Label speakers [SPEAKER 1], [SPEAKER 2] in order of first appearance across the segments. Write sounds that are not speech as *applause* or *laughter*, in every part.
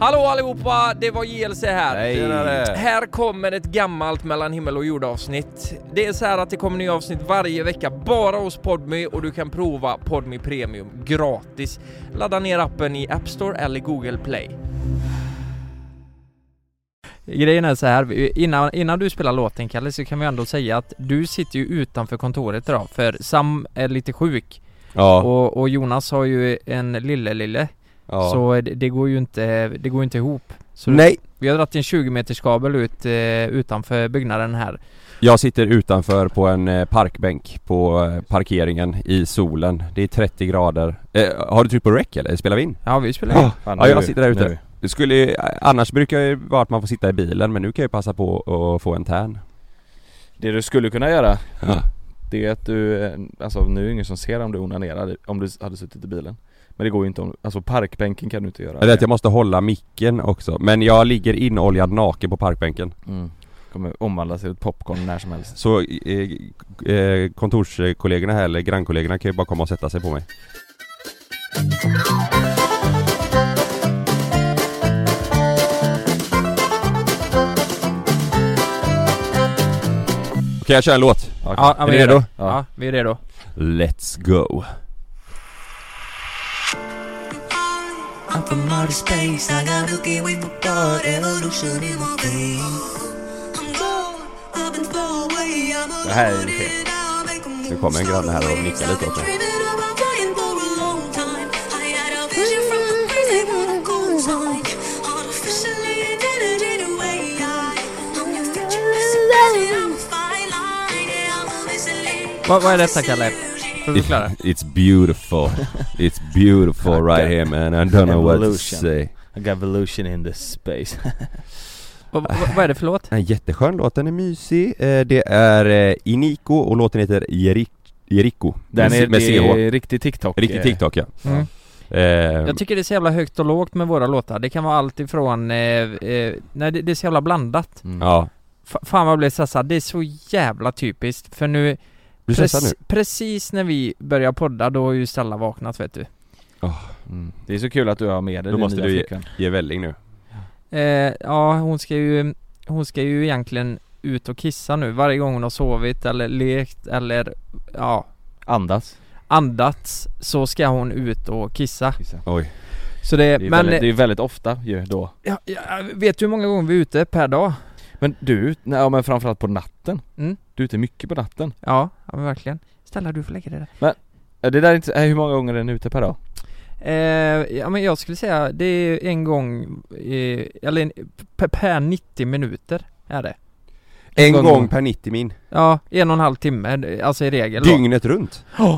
[SPEAKER 1] Hallå allihopa, det var JLC här.
[SPEAKER 2] Hej. Tjenare.
[SPEAKER 1] Här kommer ett gammalt mellan himmel och jord avsnitt. Det är så här att det kommer nya avsnitt varje vecka bara hos Podmy och du kan prova Podmy Premium gratis. Ladda ner appen i App Store eller Google Play.
[SPEAKER 3] Grejen är så här, vi- innan, innan du spelar låten Kalle så kan vi ändå säga att du sitter ju utanför kontoret idag för Sam är lite sjuk
[SPEAKER 2] Ja,
[SPEAKER 3] och, och Jonas har ju en lille-lille
[SPEAKER 2] ja.
[SPEAKER 3] så det, det går ju inte, det går inte ihop. Så
[SPEAKER 2] Nej,
[SPEAKER 3] Vi har dragit en 20 meters kabel ut eh, utanför byggnaden här.
[SPEAKER 2] jag sitter utanför på en eh, parkbänk på eh, parkeringen i solen. Det är 30 grader. Eh, har du tryckt på rec eller? Spelar vi in?
[SPEAKER 3] Ja vi spelar in.
[SPEAKER 4] Fan,
[SPEAKER 2] Ja,
[SPEAKER 4] nu-
[SPEAKER 2] jag sitter där ute.
[SPEAKER 4] nu.
[SPEAKER 2] Det skulle, ju- eh, annars brukar det ju vara att man får sitta i bilen men nu kan jag ju passa på att få en tärn.
[SPEAKER 4] Det du skulle kunna göra
[SPEAKER 2] Ja.
[SPEAKER 4] Det är att du, eh, alltså nu är det ingen som ser om du onanerar om du hade suttit i bilen Men det går ju inte om, alltså parkbänken kan du inte göra
[SPEAKER 2] Eller att jag måste hålla micken också. Men jag ligger inoljad naken på parkbänken.
[SPEAKER 4] mm. Kommer omvandlas till ett popcorn när som helst
[SPEAKER 2] Så eh, eh, kontorskollegorna här eller grannkollegorna kan ju bara komma och sätta sig på mig. Okej jag kör en låt.
[SPEAKER 3] Ja, ja,
[SPEAKER 2] Är ni
[SPEAKER 3] vi är
[SPEAKER 2] redo?
[SPEAKER 3] redo? Ja, vi är redo.
[SPEAKER 2] Let's go.
[SPEAKER 5] I'm from outer space. I got hooky with the thought, evolution in my veins. I'm going up and far away. I'm a
[SPEAKER 4] Det här är ju
[SPEAKER 5] loner
[SPEAKER 4] fel.
[SPEAKER 5] and I'll make a move.
[SPEAKER 2] Nu kommer en granne här och nickar lite åt mig.
[SPEAKER 5] Dreaming about flying for a long time. I had a vision from a crazy world of gold mine. Artificially intelligent way I- I'm your future pessimist, I'm a fine line, yeah, I'm a missile.
[SPEAKER 3] Vad, vad är detta Kalle? Får vi
[SPEAKER 2] *laughs*
[SPEAKER 3] förklara?
[SPEAKER 2] it's beautiful. It's
[SPEAKER 4] *laughs*
[SPEAKER 2] beautiful right here man. I don't know what to
[SPEAKER 4] Evolution.
[SPEAKER 2] say.
[SPEAKER 4] I got evolution in the
[SPEAKER 2] *laughs*
[SPEAKER 4] space
[SPEAKER 3] Vad, vad, vad är det för låt?
[SPEAKER 2] En jätteskön låt, den är mysig. Eh, Det är eh, Iniko och låten heter Jerik, Jeriko.
[SPEAKER 4] Den
[SPEAKER 2] med,
[SPEAKER 4] är,
[SPEAKER 2] med
[SPEAKER 4] det
[SPEAKER 2] CH.
[SPEAKER 4] är riktig TikTok
[SPEAKER 2] Riktig
[SPEAKER 4] eh,
[SPEAKER 2] TikTok ja.
[SPEAKER 3] Mm.
[SPEAKER 2] Eh,
[SPEAKER 3] Jag tycker det är så jävla högt och lågt med våra låtar. Det kan vara allt ifrån, eh, eh, nej det, det är så jävla blandat.
[SPEAKER 4] mm.
[SPEAKER 2] ja.
[SPEAKER 3] F- fan vad jag blev stressad, det är så jävla typiskt för nu,
[SPEAKER 2] Blir du stressad nu?
[SPEAKER 3] precis när vi börjar podda då har ju Stella vaknat vet du
[SPEAKER 4] Mm. Det är så kul att du har med dig
[SPEAKER 2] Då
[SPEAKER 4] din
[SPEAKER 2] måste
[SPEAKER 4] nya
[SPEAKER 2] du ge-
[SPEAKER 4] flickvän
[SPEAKER 2] Ge välling nu.
[SPEAKER 3] eh, Ja hon ska ju, hon ska ju egentligen ut och kissa nu varje gång hon har sovit eller lekt eller ja
[SPEAKER 4] Andas
[SPEAKER 3] andats så ska hon ut och kissa
[SPEAKER 4] gissar jag.
[SPEAKER 2] Oj.
[SPEAKER 3] Så det,
[SPEAKER 4] det är,
[SPEAKER 3] men
[SPEAKER 4] väldigt, det är väldigt ofta ju då
[SPEAKER 3] ja, ja, vet du hur många gånger vi är ute per dag?
[SPEAKER 4] Men du, är ut- nej, ja, men framförallt på natten
[SPEAKER 3] Mm.
[SPEAKER 4] Du är ute mycket på natten
[SPEAKER 3] Ja, ja men verkligen Stella du får lägga dig där
[SPEAKER 4] Ja, Det där är inte, eh, hur många gånger är ni ute per dag?
[SPEAKER 3] Eh, ja men jag skulle säga det är en gång, eh, eller en, per, per 90 minuter är det.
[SPEAKER 2] En
[SPEAKER 4] gång-
[SPEAKER 2] gång per 90 min.
[SPEAKER 3] Ja, en och en halv timme, alltså i regel då.
[SPEAKER 2] Dygnet runt.
[SPEAKER 3] Åh!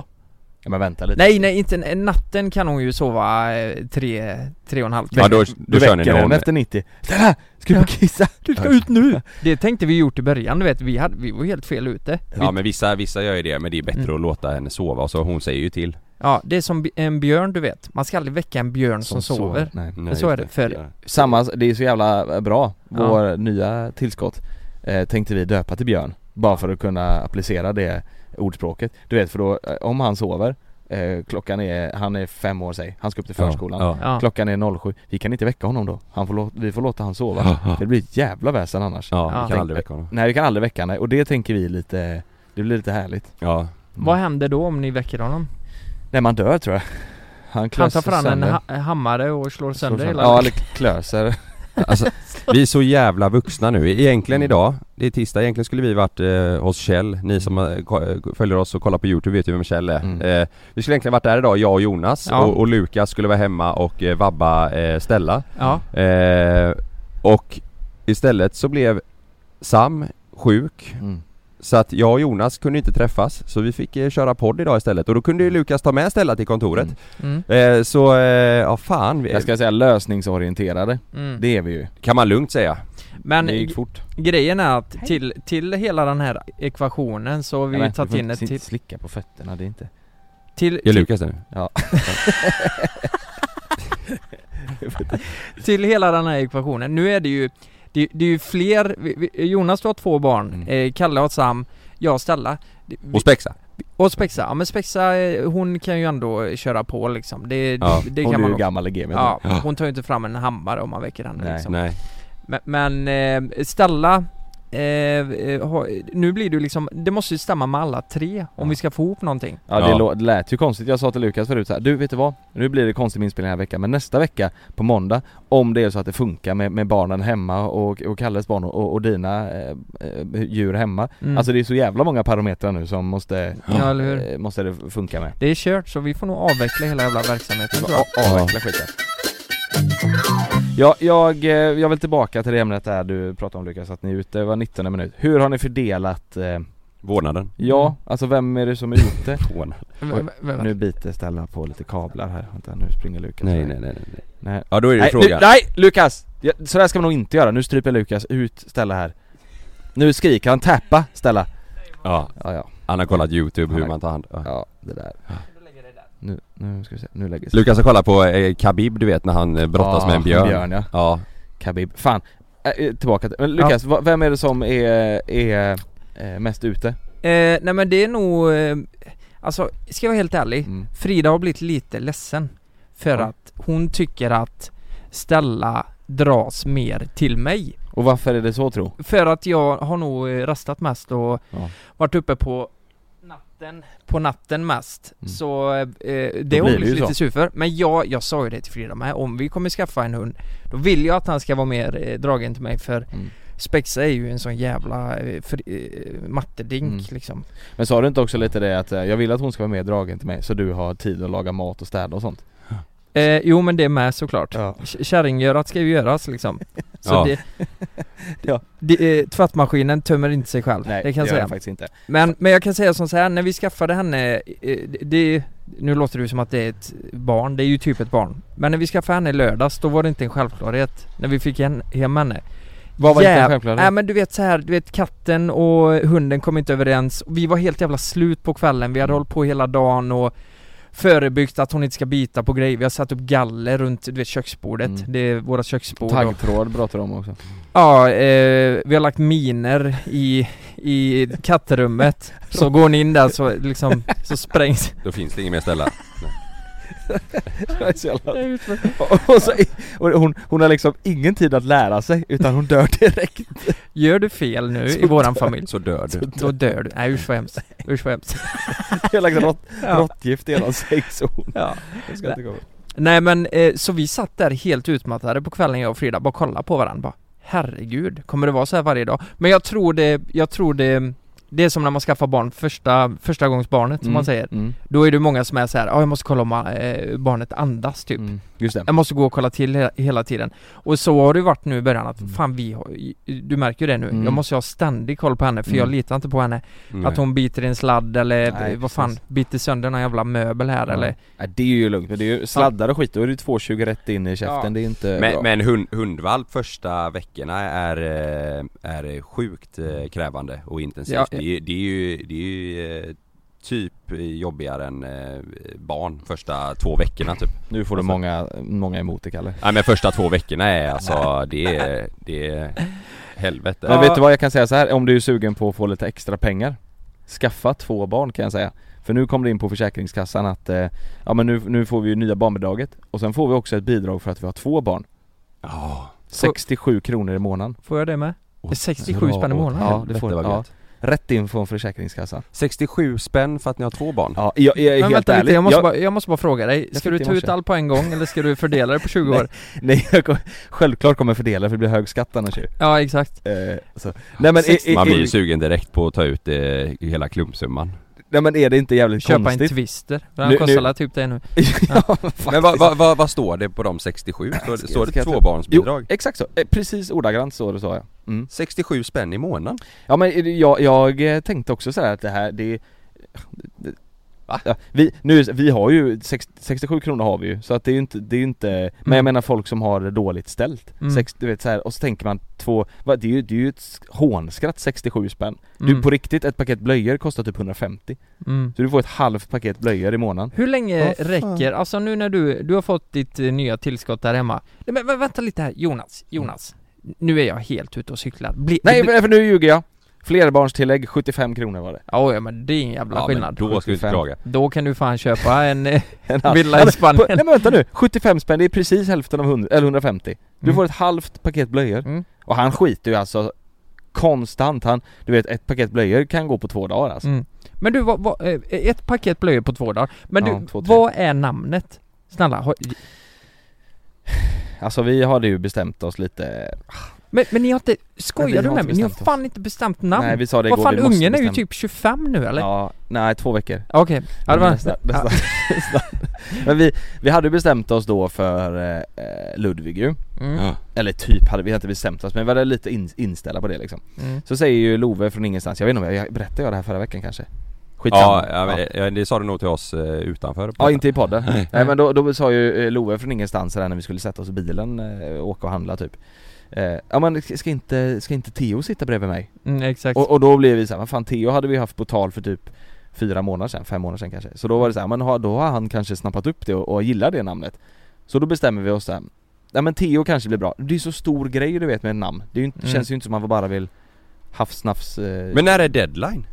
[SPEAKER 4] Ja, men vänta lite
[SPEAKER 3] Nej nej, inte en- natten kan hon ju sova eh, tre, tre och en halv timme.
[SPEAKER 2] Ja, då, då
[SPEAKER 4] Du
[SPEAKER 2] kör ni
[SPEAKER 4] väcker
[SPEAKER 2] någon.
[SPEAKER 4] den efter 90 Stella! Ska du
[SPEAKER 3] Ja.
[SPEAKER 4] på kissa?
[SPEAKER 3] Du ska ut nu! Det tänkte vi gjort i början, du vet, vi, hade, vi var helt fel ute. Vi,
[SPEAKER 2] Ja men vissa, vissa gör ju det men det är bättre
[SPEAKER 3] Mm.
[SPEAKER 2] att låta henne sova och så hon säger ju till.
[SPEAKER 3] ja, det är som bi- en björn du vet, man ska aldrig väcka en björn som, sover.
[SPEAKER 4] Nej.
[SPEAKER 2] Nej,
[SPEAKER 3] Så är
[SPEAKER 2] just
[SPEAKER 3] det.
[SPEAKER 2] Ja.
[SPEAKER 4] Mm. Samma, det är så jävla eh, bra, vår nya tillskott eh, Tänkte vi döpa till Björn Bara för att kunna applicera det ordspråket Du vet för då, eh, om han sover eh, Klockan är, han är fem år säg, han ska upp till förskolan
[SPEAKER 2] Ja. Ja.
[SPEAKER 3] Ja.
[SPEAKER 4] Klockan är 07, vi kan inte väcka honom då han får lå- Vi får låta han sova
[SPEAKER 2] Ja.
[SPEAKER 4] Det blir ett jävla väsen annars
[SPEAKER 2] ja,
[SPEAKER 3] Ja.
[SPEAKER 2] vi kan aldrig väcka honom.
[SPEAKER 4] Nej vi kan aldrig väcka honom och det tänker vi lite Det blir lite härligt
[SPEAKER 2] Ja.
[SPEAKER 3] Vad
[SPEAKER 4] Mm.
[SPEAKER 3] händer då om ni väcker honom?
[SPEAKER 4] Nej man dör tror jag Han
[SPEAKER 3] Han
[SPEAKER 4] klöser
[SPEAKER 3] tar fram en
[SPEAKER 4] sönder.
[SPEAKER 3] ha- hammare och slår
[SPEAKER 4] Slår
[SPEAKER 3] sönder hela...
[SPEAKER 4] Ja eller
[SPEAKER 3] *laughs*
[SPEAKER 4] klöser Mm.
[SPEAKER 2] Alltså, vi är så jävla vuxna nu. Egentligen idag, det är tisdag, egentligen skulle vi varit eh, hos Kjell. Ni som eh, ko- följer oss och kollar på Youtube vet ju vem Kjell är.
[SPEAKER 4] Mm.
[SPEAKER 2] Eh, vi skulle egentligen varit där idag, jag och Jonas.
[SPEAKER 3] Ja.
[SPEAKER 2] Och, och Lukas skulle vara hemma och eh, vabba eh, Stella.
[SPEAKER 3] ja.
[SPEAKER 2] Eh, och istället så blev Sam sjuk.
[SPEAKER 4] mm.
[SPEAKER 2] Så att jag och Jonas kunde inte träffas. Så vi fick eh, köra podd idag istället. Och då kunde ju Lukas ta med Stella till kontoret.
[SPEAKER 3] Mm.
[SPEAKER 2] Eh, så, eh, ja fan. Vi,
[SPEAKER 4] Jag ska säga lösningsorienterade
[SPEAKER 3] Mm.
[SPEAKER 4] Det är vi ju
[SPEAKER 2] Kan man lugnt säga.
[SPEAKER 3] Men
[SPEAKER 4] Det gick fort
[SPEAKER 3] Grejen är att till, till hela den här ekvationen så har vi
[SPEAKER 4] Nej,
[SPEAKER 3] ju
[SPEAKER 4] men,
[SPEAKER 3] tagit
[SPEAKER 4] du får
[SPEAKER 3] in ett
[SPEAKER 4] inte
[SPEAKER 3] till,
[SPEAKER 4] slicka på fötterna, det är inte...
[SPEAKER 3] till,
[SPEAKER 2] Är
[SPEAKER 3] till,
[SPEAKER 2] Lukas nu?
[SPEAKER 3] till hela den här ekvationen. Nu är det ju, det, det är ju fler, vi, vi, Jonas du har två barn,
[SPEAKER 2] Mm.
[SPEAKER 3] eh, Kalle har Sam, jag och Stella. Det- Vi,
[SPEAKER 2] Hos Bexa?
[SPEAKER 3] Och Spexa, ja men Spexa eh, hon kan ju ändå köra på liksom Det,
[SPEAKER 2] Ja,
[SPEAKER 3] det
[SPEAKER 4] Hon
[SPEAKER 3] kan
[SPEAKER 4] är
[SPEAKER 3] man
[SPEAKER 4] ju
[SPEAKER 3] också.
[SPEAKER 4] gammal i gamet
[SPEAKER 3] Ja,
[SPEAKER 2] Ja.
[SPEAKER 3] hon tar ju inte fram en hammare om man väcker henne
[SPEAKER 4] Nej.
[SPEAKER 3] liksom.
[SPEAKER 2] Nej.
[SPEAKER 3] Men, men eh, Stella eh, eh, ha, nu blir det ju liksom, det måste ju stämma med alla tre om
[SPEAKER 4] Ja.
[SPEAKER 3] vi ska få ihop någonting
[SPEAKER 4] Ja, det
[SPEAKER 2] Ja.
[SPEAKER 4] lå- det lät ju konstigt. Jag sa till Lukas förut så här, du vet du vad? Nu blir det konstigt med inspelningen den här veckan, men nästa vecka på måndag om det är så att det funkar med, med barnen hemma och, och Kalles barn och, och dina eh, eh, djur hemma.
[SPEAKER 3] Mm.
[SPEAKER 4] Alltså det är så jävla många parametrar nu som måste,
[SPEAKER 3] Ja eller hur?
[SPEAKER 4] eh, måste det funka med.
[SPEAKER 3] Det är kört så vi får nog avveckla hela jävla verksamheten tror jag.
[SPEAKER 4] A- Avveckla skiten. Ja, jag, eh, jag vill tillbaka till det ämnet där du pratade om Lukas, att ni är ute, det var 19 minut. Hur har ni fördelat, eh,
[SPEAKER 2] Vårdnaden.
[SPEAKER 4] ja, alltså vem är det som är ute?
[SPEAKER 2] Vårdnaden.
[SPEAKER 3] V- v- v-
[SPEAKER 4] Nu biter Stella på lite kablar här, vänta nu springer Lukas
[SPEAKER 2] Nej,
[SPEAKER 4] iväg.
[SPEAKER 2] nej, nej, nej, nej.
[SPEAKER 4] Nej.
[SPEAKER 2] Ja, då är det
[SPEAKER 4] Nej, nu,
[SPEAKER 2] frågan.
[SPEAKER 4] nej Lukas! Ja, så där ska man nog inte göra, nu stryper Lukas ut Stella här Nu skriker han 'tappa' Stella
[SPEAKER 2] Ja,
[SPEAKER 4] Ja ja,
[SPEAKER 2] han har kollat YouTube
[SPEAKER 4] Han
[SPEAKER 2] hur
[SPEAKER 4] har-
[SPEAKER 2] man tar hand ja.
[SPEAKER 4] ja det där Nu, nu ska vi se, nu lägger sig
[SPEAKER 2] Lukas har kollat på eh, Khabib du vet när han eh, brottas
[SPEAKER 4] Ja,
[SPEAKER 2] med en björn.
[SPEAKER 4] björn ja,
[SPEAKER 2] Ja.
[SPEAKER 4] Khabib, fan Äh, eh, Tillbaka till, men Lukas, va- vem är det som är, är eh, mest ute?
[SPEAKER 3] Eh, nej men det är nog, eh, alltså ska jag vara helt ärlig
[SPEAKER 4] Mm.
[SPEAKER 3] Frida har blivit lite ledsen För
[SPEAKER 4] Ja.
[SPEAKER 3] att hon tycker att Stella dras mer till mig
[SPEAKER 4] Och varför är det så tro?
[SPEAKER 3] För att jag har nog eh, rastat mest och
[SPEAKER 4] Ja.
[SPEAKER 3] varit uppe på natten, på natten mest.
[SPEAKER 4] Mm.
[SPEAKER 3] Så eh, det har
[SPEAKER 4] det
[SPEAKER 3] hon
[SPEAKER 4] ju
[SPEAKER 3] blivit
[SPEAKER 4] så.
[SPEAKER 3] lite sur för. Men jag, jag sa ju det till Frida med, om vi kommer skaffa en hund då vill jag att han ska vara mer eh, dragen till mig för
[SPEAKER 4] Mm.
[SPEAKER 3] Spexa är ju en sån jävla eh, fri, eh, mattedink
[SPEAKER 4] Mm.
[SPEAKER 3] liksom.
[SPEAKER 4] Men sa du inte också lite det att eh, jag vill att hon ska vara med dragen till mig så du har tid att laga mat och städa och sånt?
[SPEAKER 3] Eh, jo men det är med såklart.
[SPEAKER 4] Ja,
[SPEAKER 3] K- Kärringgörat ska ju göras liksom. Så
[SPEAKER 2] Ja.
[SPEAKER 3] det,
[SPEAKER 4] *laughs* Ja.
[SPEAKER 3] det, eh, tvättmaskinen tömmer inte sig själv,
[SPEAKER 4] nej
[SPEAKER 3] det kan jag
[SPEAKER 4] gör
[SPEAKER 3] säga.
[SPEAKER 4] jag faktiskt inte
[SPEAKER 3] Men, men jag kan säga som så här, när vi skaffade henne, eh, det, det, nu låter det ju som att det är ett barn, det är ju typ ett barn. Men när vi skaffade henne i lördags, då var det inte en självklarhet när vi fick hen, hem henne.
[SPEAKER 4] Vad var det
[SPEAKER 3] Jäv-
[SPEAKER 4] för självklarhet?
[SPEAKER 3] Nej men du vet så här, du vet katten och hunden kom inte överens. Vi var helt jävla slut på kvällen,
[SPEAKER 2] Mm.
[SPEAKER 3] vi hade hållit på hela dagen och förebyggt att hon inte ska bita på grejer. Vi har satt upp galler runt, du vet köksbordet.
[SPEAKER 4] Mm.
[SPEAKER 3] Det är våra köksbord. och-
[SPEAKER 4] Taggtråd pratar de
[SPEAKER 3] *laughs*
[SPEAKER 4] om också
[SPEAKER 3] Ja, eh, vi har lagt miner i, i
[SPEAKER 2] *laughs*
[SPEAKER 3] kattrummet Så går hon in där så liksom, så sprängs
[SPEAKER 2] Då finns det ingen mer ställe.
[SPEAKER 4] Det är så jävla- *laughs* och så, och hon, hon har liksom ingen tid att lära sig utan hon dör *laughs* direkt
[SPEAKER 3] Gör du fel nu i våran familj
[SPEAKER 2] Så dör du.
[SPEAKER 3] då dör du. Nej usch vad hemskt. Usch vad hemskt.
[SPEAKER 4] Det är liksom rått,
[SPEAKER 3] Ja.
[SPEAKER 4] råttgift i hela Mm. sexzon
[SPEAKER 3] Ja.
[SPEAKER 4] Det ska inte gå
[SPEAKER 3] Nej men eh, så vi satt där helt utmattade på kvällen jag och Frida bara kollade på varandra bara Herregud, kommer det vara så här varje dag? Men jag tror det, jag tror det Det är som när man skaffar barn, första, första gångs barnet som man säger
[SPEAKER 4] mm,
[SPEAKER 3] Då är det många som är så här, ja jag måste kolla om eh, barnet andas typ
[SPEAKER 4] mm. Just det
[SPEAKER 3] Jag måste gå och kolla till he- hela tiden. Och så har det ju varit nu i början att
[SPEAKER 4] Mm.
[SPEAKER 3] fan vi har, du märker ju det nu.
[SPEAKER 4] Mm.
[SPEAKER 3] Jag måste ju ha ständig koll på henne för jag
[SPEAKER 4] Mm.
[SPEAKER 3] litar inte på henne.
[SPEAKER 2] Mm.
[SPEAKER 3] Att hon biter i en sladd eller
[SPEAKER 4] Nej,
[SPEAKER 3] vad fan,
[SPEAKER 4] precis.
[SPEAKER 3] biter sönder någon jävla möbel här
[SPEAKER 4] Ja.
[SPEAKER 3] eller
[SPEAKER 4] Nej, Det är ju lugnt men det är ju sladdar och skit, då är det ju 2,20 rätt in i käften,
[SPEAKER 3] Ja.
[SPEAKER 4] det är inte bra
[SPEAKER 2] Men, men hund, hundvalp första veckorna är, eh, är sjukt eh, krävande och intensivt.
[SPEAKER 3] Ja.
[SPEAKER 2] Det, är, ju- det är ju, det är ju eh, typ jobbigare än eh, barn första två veckorna typ.
[SPEAKER 4] Nu får du många, många emot det Kalle
[SPEAKER 2] Nej men första två veckorna är alltså, det är, det är helvete.
[SPEAKER 4] Men
[SPEAKER 3] Ja.
[SPEAKER 4] vet du vad jag kan säga så här om du är sugen på att få lite extra pengar? Skaffa två barn kan jag säga. För nu kom det in på Försäkringskassan att eh, ja men nu, nu får vi ju nya barnbidraget och sen får vi också ett bidrag för att vi har två barn.
[SPEAKER 2] Ja,
[SPEAKER 4] 67 kronor i månaden.
[SPEAKER 3] Får jag det med?
[SPEAKER 2] Åh,
[SPEAKER 3] Det är 67 spänn i månaden?
[SPEAKER 4] Ja,
[SPEAKER 2] helvete
[SPEAKER 4] det får-
[SPEAKER 2] vad
[SPEAKER 4] ja.
[SPEAKER 2] gött.
[SPEAKER 4] Rätt in från Försäkringskassan.
[SPEAKER 2] 67 spänn för att ni har två barn.
[SPEAKER 4] Ja, jag, jag är
[SPEAKER 3] Men
[SPEAKER 4] helt
[SPEAKER 3] vänta
[SPEAKER 4] ärlig.
[SPEAKER 3] lite, jag måste,
[SPEAKER 4] jag,
[SPEAKER 3] bara, jag måste bara fråga dig.
[SPEAKER 4] Jag
[SPEAKER 3] Ska du
[SPEAKER 4] fick det i
[SPEAKER 3] ta ut
[SPEAKER 4] morse.
[SPEAKER 3] allt på en gång eller
[SPEAKER 4] *laughs*
[SPEAKER 3] ska du fördela det på 20 år?
[SPEAKER 4] Nej, jag kom, självklart kommer jag fördela för det blir hög skatt annars ju.
[SPEAKER 3] Ja exakt.
[SPEAKER 4] Eh, så. Nej, men, är,
[SPEAKER 2] Man
[SPEAKER 4] är,
[SPEAKER 2] blir ju
[SPEAKER 4] är,
[SPEAKER 2] sugen direkt på att ta ut eh, hela klumpsumman.
[SPEAKER 4] nej men är det inte jävligt
[SPEAKER 3] Köpa en
[SPEAKER 4] konstigt?
[SPEAKER 3] Twister. Den
[SPEAKER 4] Nu-
[SPEAKER 3] kostar
[SPEAKER 4] nu-
[SPEAKER 3] väl typ det nu.
[SPEAKER 4] *laughs*
[SPEAKER 3] *laughs*
[SPEAKER 4] ja, faktiskt.
[SPEAKER 2] Men vad vad vad- vad står det på de 67? Står, det- står det
[SPEAKER 4] Ska jag ta-
[SPEAKER 2] tvåbarnsbidrag?
[SPEAKER 4] Jo, exakt så. Eh, Precis ordagrant så det sa jag. Mm.
[SPEAKER 2] 67 spänn i månaden?
[SPEAKER 4] Ja men är det- jag, jag eh, tänkte också sådär att det här, det... eh, det Ja, vi, nu, vi har ju, sex- 67 kronor har vi ju, så att det är ju inte, det är ju inte Men jag
[SPEAKER 3] Mm.
[SPEAKER 4] menar folk som har det dåligt ställt
[SPEAKER 3] Mm.
[SPEAKER 4] Sex, Du vet så här, och så tänker man två, va, det är ju, det är ju ett sk- hånskratt 67 spänn Du
[SPEAKER 3] Mm.
[SPEAKER 4] på riktigt, ett paket blöjor kostar typ 150
[SPEAKER 3] Mm.
[SPEAKER 4] Så du får ett halvt paket blöjor i månaden
[SPEAKER 3] Hur länge
[SPEAKER 2] Vad fan?
[SPEAKER 3] räcker, alltså nu när du, du har fått ditt eh, nya tillskott där hemma Nej, men vä- vänta lite här, Jonas, Jonas Nu är jag helt ute och cyklar Bli,
[SPEAKER 4] Nej
[SPEAKER 3] det,
[SPEAKER 4] för, för nu ljuger jag! Flerbarnstillägg 75 kronor var det
[SPEAKER 3] Ja, ja men det är en jävla
[SPEAKER 2] Ja, men
[SPEAKER 3] skillnad. Då...
[SPEAKER 2] då ska du inte
[SPEAKER 4] 75.
[SPEAKER 2] klaga.
[SPEAKER 3] kan du fan köpa en eh,
[SPEAKER 4] En halv-
[SPEAKER 3] villa
[SPEAKER 4] Ja,
[SPEAKER 3] i
[SPEAKER 4] men- på- Nej
[SPEAKER 3] Spanien.
[SPEAKER 4] men vänta nu, 75 spänn det är precis hälften av 100, eller 150 Du
[SPEAKER 3] Mm.
[SPEAKER 4] får ett halvt paket blöjor
[SPEAKER 3] Mm.
[SPEAKER 4] Och han skiter ju alltså konstant, han, du vet ett paket blöjor kan gå på två dagar alltså
[SPEAKER 3] Mm. Men du, vad, vad, eh, ett paket blöjor på två dagar. Men
[SPEAKER 4] Ja,
[SPEAKER 3] du,
[SPEAKER 4] två, tre.
[SPEAKER 3] vad är namnet? Snälla, har,
[SPEAKER 4] *sighs* Alltså vi hade ju bestämt oss lite,
[SPEAKER 3] men, men ni har inte,
[SPEAKER 4] Men vi
[SPEAKER 3] skojar du
[SPEAKER 4] har
[SPEAKER 3] med
[SPEAKER 4] inte
[SPEAKER 3] mig? Ni har
[SPEAKER 4] bestämt
[SPEAKER 3] fan inte bestämt namn?
[SPEAKER 4] nej vi sa det
[SPEAKER 3] vad
[SPEAKER 4] igår,
[SPEAKER 3] fan,
[SPEAKER 4] vi måste
[SPEAKER 3] ungen är ju
[SPEAKER 4] bestämma.
[SPEAKER 3] typ 25 nu eller?
[SPEAKER 4] Ja, nej två veckor
[SPEAKER 3] Okej, ja, det var
[SPEAKER 4] Nästa- nästa- *laughs* nästa. Men vi, vi hade ju bestämt oss då för eh, eh, Ludvig ju
[SPEAKER 3] Mm.
[SPEAKER 4] Eller typ hade vi hade inte bestämt oss men vi var lite in, inställda på det liksom
[SPEAKER 3] Mm.
[SPEAKER 4] Så säger ju Love från ingenstans, jag vet inte om jag, jag berättade jag det här förra veckan kanske?
[SPEAKER 2] Ja,
[SPEAKER 4] Skitsamma
[SPEAKER 2] ja, men, ja, det sa du nog till oss eh, utanför.
[SPEAKER 4] Ja, inte i podden. Nej men då, då sa ju eh, Love från ingenstans där när vi skulle sätta oss i bilen, eh, åka och handla typ Eh, Ja men ska inte, ska inte Theo sitta bredvid mig?
[SPEAKER 3] Mm, exakt.
[SPEAKER 4] Och, och då blev vi såhär, vad fan Theo hade vi haft på tal för typ fyra månader sedan, fem månader sedan kanske Så då var det såhär, men har- då har han kanske snappat upp det och, och gillar det namnet Så då bestämmer vi oss såhär, ja men Theo kanske blir bra, det är så stor grej du vet med ett namn Det är ju, inte-
[SPEAKER 3] Mm.
[SPEAKER 4] känns ju inte som att man bara vill hafsnafs, eh,
[SPEAKER 2] Men när är deadline?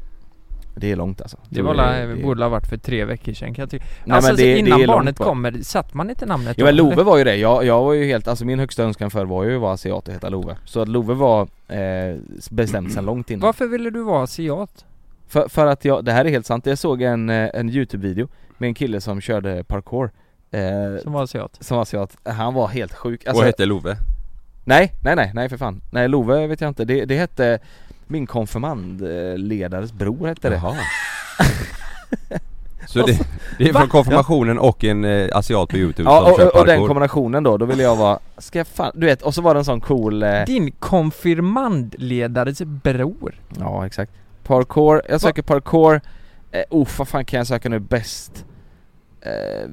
[SPEAKER 4] det är långt alltså
[SPEAKER 3] det var la, det borde ha varit för tre veckor sedan kan jag tycka.
[SPEAKER 4] Nej,
[SPEAKER 3] alltså
[SPEAKER 4] men det- det
[SPEAKER 3] innan
[SPEAKER 4] är långt
[SPEAKER 3] barnet
[SPEAKER 4] bort.
[SPEAKER 3] kommer, satt man inte namnet
[SPEAKER 4] Jo men
[SPEAKER 3] då,
[SPEAKER 4] Love
[SPEAKER 3] eller?
[SPEAKER 4] var ju det, jag, jag var ju helt, alltså min högsta önskan förr var ju att vara asiat och heta Love Så att Love var eh, bestämt sedan långt innan
[SPEAKER 3] Varför ville du vara asiat?
[SPEAKER 4] För, för att jag, det här är helt sant, jag såg en, eh, en youtube-video med en kille som körde parkour eh,
[SPEAKER 3] Som var asiat?
[SPEAKER 4] Som asiat, han var helt sjuk
[SPEAKER 2] och
[SPEAKER 4] alltså,
[SPEAKER 2] hette Love?
[SPEAKER 4] Nej, nej nej, nej för fan Nej Love vet jag inte, det, det hette min konfirmandledares bror hette det
[SPEAKER 2] Jaha.
[SPEAKER 4] *laughs*
[SPEAKER 2] Så det, det är
[SPEAKER 3] Va?
[SPEAKER 2] från konfirmationen och en eh, asiat på youtube som
[SPEAKER 4] Ja och,
[SPEAKER 2] kör
[SPEAKER 4] och, och den
[SPEAKER 2] parkour.
[SPEAKER 4] kombinationen då, då ville jag vara, ska jag fan, du vet, och så var det en sån cool eh,
[SPEAKER 3] Din konfirmandledares bror?
[SPEAKER 4] Ja exakt Parkour, jag söker parkour eh, Oh vad fan kan jag söka nu bäst? Eh, eh,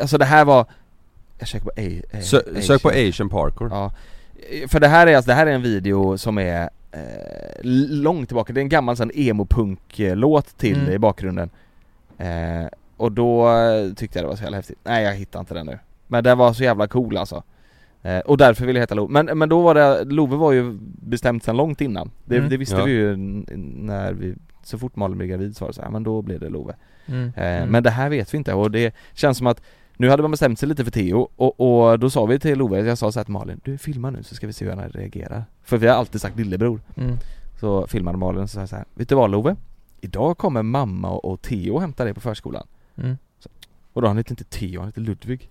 [SPEAKER 4] alltså det här var Jag söker på A, eh,
[SPEAKER 2] Sö,
[SPEAKER 4] Asian.
[SPEAKER 2] sök på asian parkour.
[SPEAKER 4] Ja Eh, För det här är alltså, det här är en video som är eh, långt tillbaka, det är en gammal sån emo-punk-låt till
[SPEAKER 3] Mm.
[SPEAKER 4] i bakgrunden eh, Och då eh, tyckte jag det var så jävla häftigt, nej jag hittar inte den nu Men den var så jävla cool alltså eh, Och därför ville jag heta Love, men, men då var det, Love var ju bestämt sedan långt innan Det,
[SPEAKER 3] Mm.
[SPEAKER 4] det visste
[SPEAKER 2] Ja.
[SPEAKER 4] vi ju n- när vi, så fort Malin blev gravid så var det så här, men då blev det Love
[SPEAKER 3] Mm.
[SPEAKER 4] Eh,
[SPEAKER 3] Mm.
[SPEAKER 4] Men det här vet vi inte och det känns som att nu hade man bestämt sig lite för Theo och, och då sa vi till Ove, jag sa så här till Malin, du filma nu så ska vi se hur han reagerar. För vi har alltid sagt lillebror.
[SPEAKER 3] Mm.
[SPEAKER 4] Så filmade Malin och så sa jag så här, vet du vad Love? Idag kommer mamma och, och Theo och hämtar dig på förskolan.
[SPEAKER 3] Mm.
[SPEAKER 4] Så, och då han hette inte Theo, han hette Ludvig.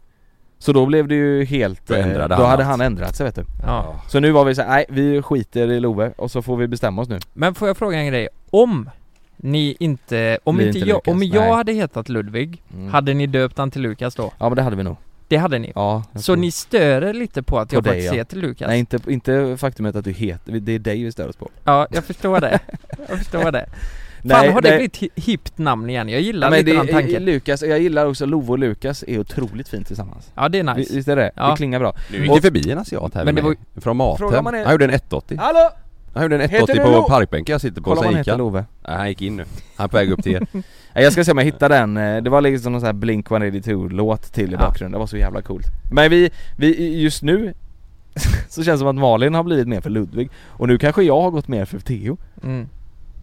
[SPEAKER 4] Så då blev det ju helt,
[SPEAKER 2] Då
[SPEAKER 4] eh,
[SPEAKER 2] ändrade
[SPEAKER 4] då
[SPEAKER 2] han
[SPEAKER 4] hade
[SPEAKER 2] allt.
[SPEAKER 4] han ändrat sig vet du.
[SPEAKER 3] Ja.
[SPEAKER 4] Så nu var vi så här, nej vi skiter i Love och så får vi bestämma oss nu.
[SPEAKER 3] Men får jag fråga en grej? Om ni inte, om
[SPEAKER 4] Blir
[SPEAKER 3] inte
[SPEAKER 4] inte
[SPEAKER 3] jag,
[SPEAKER 4] Lukas,
[SPEAKER 3] om
[SPEAKER 4] nej.
[SPEAKER 3] jag hade hetat Ludvig,
[SPEAKER 4] Mm.
[SPEAKER 3] hade ni döpt han till Lukas då?
[SPEAKER 4] Ja men det hade vi nog.
[SPEAKER 3] Det hade ni?
[SPEAKER 4] Ja, jag
[SPEAKER 3] Så
[SPEAKER 4] tror-
[SPEAKER 3] ni stör er lite på att
[SPEAKER 4] På
[SPEAKER 3] jag
[SPEAKER 4] dig,
[SPEAKER 3] faktiskt
[SPEAKER 4] ja.
[SPEAKER 3] heter Lukas?
[SPEAKER 4] Nej inte, inte faktumet att du heter, det är dig vi stör oss på.
[SPEAKER 3] Ja, jag förstår
[SPEAKER 4] *laughs*
[SPEAKER 3] det. Jag förstår det. Fan har det blivit hi- hippt namn igen? Jag gillar
[SPEAKER 4] men
[SPEAKER 3] lite
[SPEAKER 4] det,
[SPEAKER 3] den tanken.
[SPEAKER 4] Lukas, jag gillar också Love och Lukas är otroligt fint tillsammans
[SPEAKER 3] ja, det är
[SPEAKER 4] Vi-
[SPEAKER 3] nice.
[SPEAKER 4] Visst är det?
[SPEAKER 3] Ja.
[SPEAKER 4] Det klingar bra
[SPEAKER 2] Nu gick det förbi en asiat här
[SPEAKER 3] Men
[SPEAKER 2] med
[SPEAKER 3] det
[SPEAKER 2] mig. Från
[SPEAKER 4] Frågar
[SPEAKER 2] Mathem.
[SPEAKER 4] man är-
[SPEAKER 2] Han gjorde en 180.
[SPEAKER 4] Hallå!
[SPEAKER 2] Han gjorde en
[SPEAKER 4] Heter
[SPEAKER 2] 180
[SPEAKER 4] du
[SPEAKER 2] på
[SPEAKER 4] Lo-
[SPEAKER 2] parkbänken jag sitter på
[SPEAKER 4] Kolla vad
[SPEAKER 2] och sen
[SPEAKER 4] han
[SPEAKER 2] gick
[SPEAKER 4] heter
[SPEAKER 2] han.
[SPEAKER 4] Love
[SPEAKER 2] Nej, han gick in nu. Han är på väg upp till er.
[SPEAKER 4] Nej, Jag ska se om jag hittar den, Eh, det var liksom någon sån här Blink 182 låt till i
[SPEAKER 3] Ja.
[SPEAKER 4] bakgrunden, det var så jävla coolt Men vi, vi just nu *laughs* så känns det som att Malin har blivit mer för Ludvig Och nu kanske jag har gått mer för Theo
[SPEAKER 3] Mm.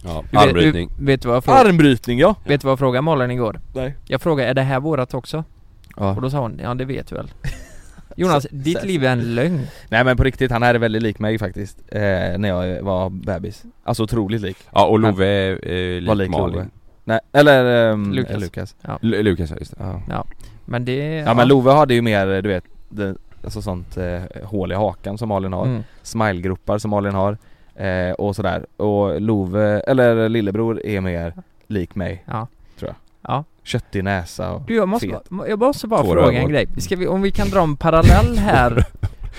[SPEAKER 2] Ja,
[SPEAKER 3] Du vet-
[SPEAKER 2] armbrytning.
[SPEAKER 3] Du, vet, du vad jag frågade,
[SPEAKER 4] Armbrytning ja!
[SPEAKER 3] vet du vad jag frågade Malin igår?
[SPEAKER 4] Nej
[SPEAKER 3] Jag frågade, är det här vårat också?
[SPEAKER 4] ja.
[SPEAKER 3] Och då sa hon, ja det vet du väl. Jonas, ditt
[SPEAKER 4] *laughs* så-
[SPEAKER 3] liv är en lögn.
[SPEAKER 4] Nej men på riktigt, han här är väldigt lik mig faktiskt eh, När jag var bebis Alltså otroligt lik
[SPEAKER 2] Ja, och Love är eh,
[SPEAKER 4] Var
[SPEAKER 2] lik
[SPEAKER 4] lik
[SPEAKER 2] Malin.
[SPEAKER 4] Love. Nej, eller ehm,
[SPEAKER 3] Lukas.
[SPEAKER 4] Lukas.
[SPEAKER 2] L- Lukas, ja, just det.
[SPEAKER 4] Ja.
[SPEAKER 3] Men det...
[SPEAKER 4] Ja men Love hade ju mer, du vet, det, alltså sånt eh, hål i hakan som Malin har,
[SPEAKER 3] Mm.
[SPEAKER 4] smilegropar som Malin har eh, och sådär. Och Love, eller lillebror är mer lik mig.
[SPEAKER 3] Ja.
[SPEAKER 4] Tror jag.
[SPEAKER 3] Ja.
[SPEAKER 4] Köttig näsa och
[SPEAKER 3] Du, jag måste,
[SPEAKER 4] fet.
[SPEAKER 3] bara- jag måste bara
[SPEAKER 2] Två
[SPEAKER 3] fråga en
[SPEAKER 2] rövhål.
[SPEAKER 3] grej. Ska vi, om vi kan dra en parallell
[SPEAKER 4] *laughs*
[SPEAKER 3] här.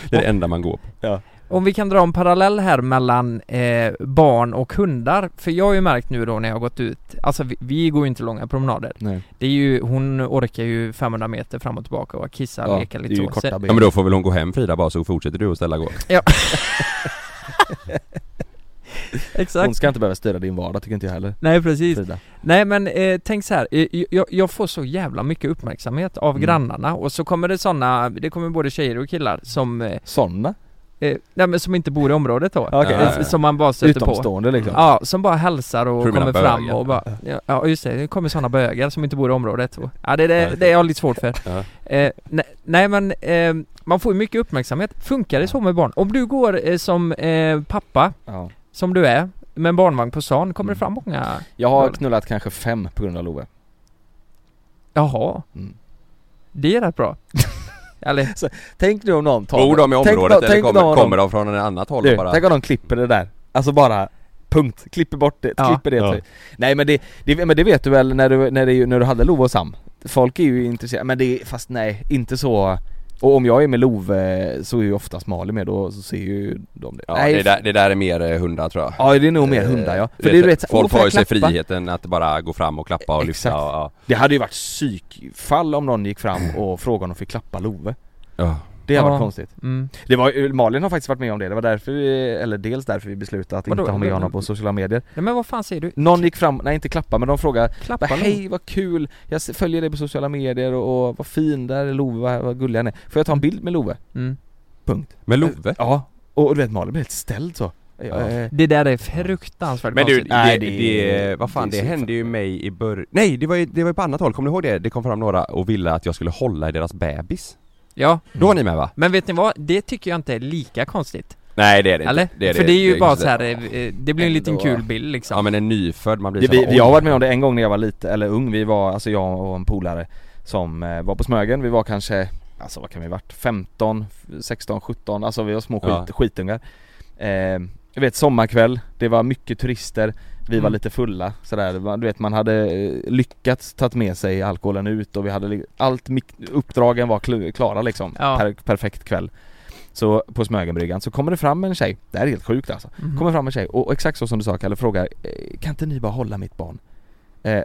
[SPEAKER 2] Det är det enda man går på.
[SPEAKER 3] om vi kan dra en parallell här mellan eh, barn och hundar. För jag har ju märkt nu då när jag har gått ut. Alltså vi, vi går ju inte långa promenader.
[SPEAKER 4] Nej.
[SPEAKER 3] Det är ju, hon orkar ju 500 meter fram och tillbaka och kissa,
[SPEAKER 4] Ja,
[SPEAKER 3] leka
[SPEAKER 4] det är
[SPEAKER 3] lite
[SPEAKER 4] ju
[SPEAKER 3] så.
[SPEAKER 4] korta
[SPEAKER 3] Sen-
[SPEAKER 4] ben.
[SPEAKER 2] Ja men då får väl hon gå hem Frida bara så fortsätter du att ställa gå.
[SPEAKER 4] Hon
[SPEAKER 3] *laughs* Exakt.
[SPEAKER 4] ska inte behöva styra din vardag tycker inte jag heller.
[SPEAKER 3] Nej precis.
[SPEAKER 4] Frida.
[SPEAKER 3] Nej men eh, tänk så här, eh, jag, jag får så jävla mycket uppmärksamhet av
[SPEAKER 4] Mm.
[SPEAKER 3] grannarna och så kommer det sådana, det kommer både tjejer och killar som eh,
[SPEAKER 4] Såna?
[SPEAKER 3] eh, nej men som inte bor i området då.
[SPEAKER 4] Okej.
[SPEAKER 3] Eh, Som man bara stöter på.
[SPEAKER 4] Utomstående liksom
[SPEAKER 3] Ja, som bara hälsar och
[SPEAKER 2] Tror du
[SPEAKER 3] kommer
[SPEAKER 2] menar
[SPEAKER 3] fram
[SPEAKER 2] bögar?
[SPEAKER 3] och bara Ja, Ja just det, det kommer sådana bögar som inte bor i området och, Ja det är det, det är jag har lite svårt för
[SPEAKER 2] Ja.
[SPEAKER 3] eh, nej, nej men eh, man får ju mycket uppmärksamhet Funkar det så med barn? Om du går eh, som eh, pappa,
[SPEAKER 4] Ja.
[SPEAKER 3] som du är med en barnvagn på stan, kommer det
[SPEAKER 4] Mm.
[SPEAKER 3] fram många?
[SPEAKER 4] Jag har knullat kanske fem på grund av Love
[SPEAKER 3] Jaha,
[SPEAKER 4] Mm.
[SPEAKER 3] det är rätt bra Eller,
[SPEAKER 4] Tänk nu om någon tar
[SPEAKER 2] Bor de i
[SPEAKER 4] tänk
[SPEAKER 2] området
[SPEAKER 4] nå-
[SPEAKER 2] eller
[SPEAKER 4] tänk
[SPEAKER 2] kommer,
[SPEAKER 4] någon av dem-
[SPEAKER 2] kommer de från ett annat håll
[SPEAKER 4] Du,
[SPEAKER 2] och bara?
[SPEAKER 4] tänk om de klipper det där. Alltså bara, punkt. Klipper bort det,
[SPEAKER 3] Ja.
[SPEAKER 4] klipper det. typ.
[SPEAKER 2] Ja.
[SPEAKER 4] Nej men det, det, men det vet du väl när du, när, det, när du hade Love och Sam? Folk är ju intresserade, men det, fast nej, inte så. Och om jag är med Love eh, så är ju oftast Malin med då, så ser ju de det.
[SPEAKER 2] Ja,
[SPEAKER 4] nej,
[SPEAKER 2] det,
[SPEAKER 4] f-
[SPEAKER 2] där, det där är mer eh, hundar tror jag
[SPEAKER 4] ja, det är nog mer
[SPEAKER 2] Eh,
[SPEAKER 4] hundar ja. För
[SPEAKER 2] vet
[SPEAKER 4] det, är du
[SPEAKER 2] jag,
[SPEAKER 4] vet, så här, åh,
[SPEAKER 2] Folk
[SPEAKER 4] får
[SPEAKER 2] har ju
[SPEAKER 4] jag
[SPEAKER 2] sig
[SPEAKER 4] klappa?
[SPEAKER 2] friheten att bara gå fram och klappa och lyfta
[SPEAKER 4] Exakt.
[SPEAKER 2] och, ja.
[SPEAKER 4] Det hade ju varit psykfall om någon gick fram
[SPEAKER 2] *clears throat*
[SPEAKER 4] och frågade om de fick klappa Love.
[SPEAKER 2] Ja.
[SPEAKER 4] Det hade
[SPEAKER 3] Ja.
[SPEAKER 4] varit konstigt.
[SPEAKER 3] mm.
[SPEAKER 4] Det var, ju- Malin har faktiskt varit med om det, det var därför vi, eller dels därför vi beslutade att
[SPEAKER 3] Vadå?
[SPEAKER 4] inte ha med honom på sociala medier.
[SPEAKER 3] nej men vad fan säger du?
[SPEAKER 4] Någon gick fram, nej inte klappa men de frågade
[SPEAKER 3] Klappa
[SPEAKER 4] Bara,
[SPEAKER 3] dem.
[SPEAKER 4] hej vad kul, jag s- följer dig på sociala medier och, och vad fin där är Love, vad, vad gullig han är. Får jag ta en bild med Love?
[SPEAKER 3] mm.
[SPEAKER 4] Punkt.
[SPEAKER 2] Men Love?
[SPEAKER 4] Ja, och, och du vet Malin blev helt ställd så.
[SPEAKER 2] Ja.
[SPEAKER 4] Eh,
[SPEAKER 3] Det där är fruktansvärt
[SPEAKER 2] Men du,
[SPEAKER 3] konstigt.
[SPEAKER 2] det,
[SPEAKER 4] Nej,
[SPEAKER 2] Alltså, det,
[SPEAKER 4] det-
[SPEAKER 2] vad fan
[SPEAKER 4] det
[SPEAKER 2] det,
[SPEAKER 4] är alltså. så
[SPEAKER 2] hände ju mig i början Nej det var ju, det var ju på annat håll, kommer du ihåg det? Det kom fram några och ville att jag skulle hålla i deras bebis
[SPEAKER 3] Ja,
[SPEAKER 2] Då var ni med va?
[SPEAKER 3] men vet ni vad? Det tycker jag inte är lika konstigt
[SPEAKER 2] Nej det är det
[SPEAKER 3] Eller?
[SPEAKER 2] inte
[SPEAKER 3] För det är ju bara
[SPEAKER 2] kanske
[SPEAKER 3] så här,
[SPEAKER 2] det.
[SPEAKER 3] eh, det blir en liten
[SPEAKER 4] Ändå.
[SPEAKER 3] kul bild liksom.
[SPEAKER 2] Ja men en nyfödd, man blir
[SPEAKER 4] det,
[SPEAKER 2] så här,
[SPEAKER 4] vi,
[SPEAKER 2] oj.
[SPEAKER 4] jag har varit med om det en gång när jag var lite, eller ung, vi var, alltså jag och en polare som eh, var på Smögen, vi var kanske, alltså vad kan vi varit, 15, 16, 17, alltså vi var små skit,
[SPEAKER 2] Ja.
[SPEAKER 4] skitungar. Eh, jag vet sommarkväll, det var mycket turister, vi var
[SPEAKER 3] Mm.
[SPEAKER 4] lite fulla sådär, Det var- du vet man hade eh, lyckats tagit med sig alkoholen ut och vi hade, li- allt mik- uppdragen var kl- klara liksom,
[SPEAKER 3] Ja.
[SPEAKER 4] per, perfekt kväll. Så på Smögenbryggan så kommer det fram en tjej, det här är helt sjukt alltså
[SPEAKER 3] Mhm.
[SPEAKER 4] kommer fram en tjej och, och exakt så som du sa Kalle frågar eh, Kan inte ni bara hålla mitt barn? Eh,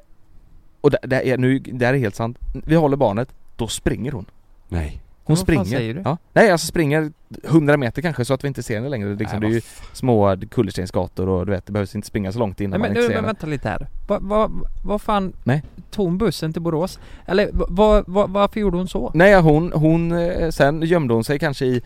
[SPEAKER 4] och det, det, är, nu, det här är helt sant Vi håller barnet, då springer hon
[SPEAKER 2] Nej
[SPEAKER 4] Hon
[SPEAKER 3] vad fan
[SPEAKER 4] springer
[SPEAKER 3] säger du?
[SPEAKER 4] Ja. Nej alltså springer 100 meter kanske så att vi inte ser henne längre liksom,
[SPEAKER 2] Nej,
[SPEAKER 4] Det är
[SPEAKER 2] vad
[SPEAKER 4] ju små kullerstensgator och du vet det behövs inte springa så långt
[SPEAKER 3] Nej,
[SPEAKER 4] innan
[SPEAKER 3] men
[SPEAKER 4] man
[SPEAKER 3] nu,
[SPEAKER 4] inte ser
[SPEAKER 3] men
[SPEAKER 4] henne
[SPEAKER 3] vänta lite här. Vad va, va fan?
[SPEAKER 4] Nej.
[SPEAKER 3] Tog hon bussen till Borås? Eller va, va, va, varför gjorde hon så?
[SPEAKER 4] Nej hon, hon, eh, sen gömde hon sig kanske i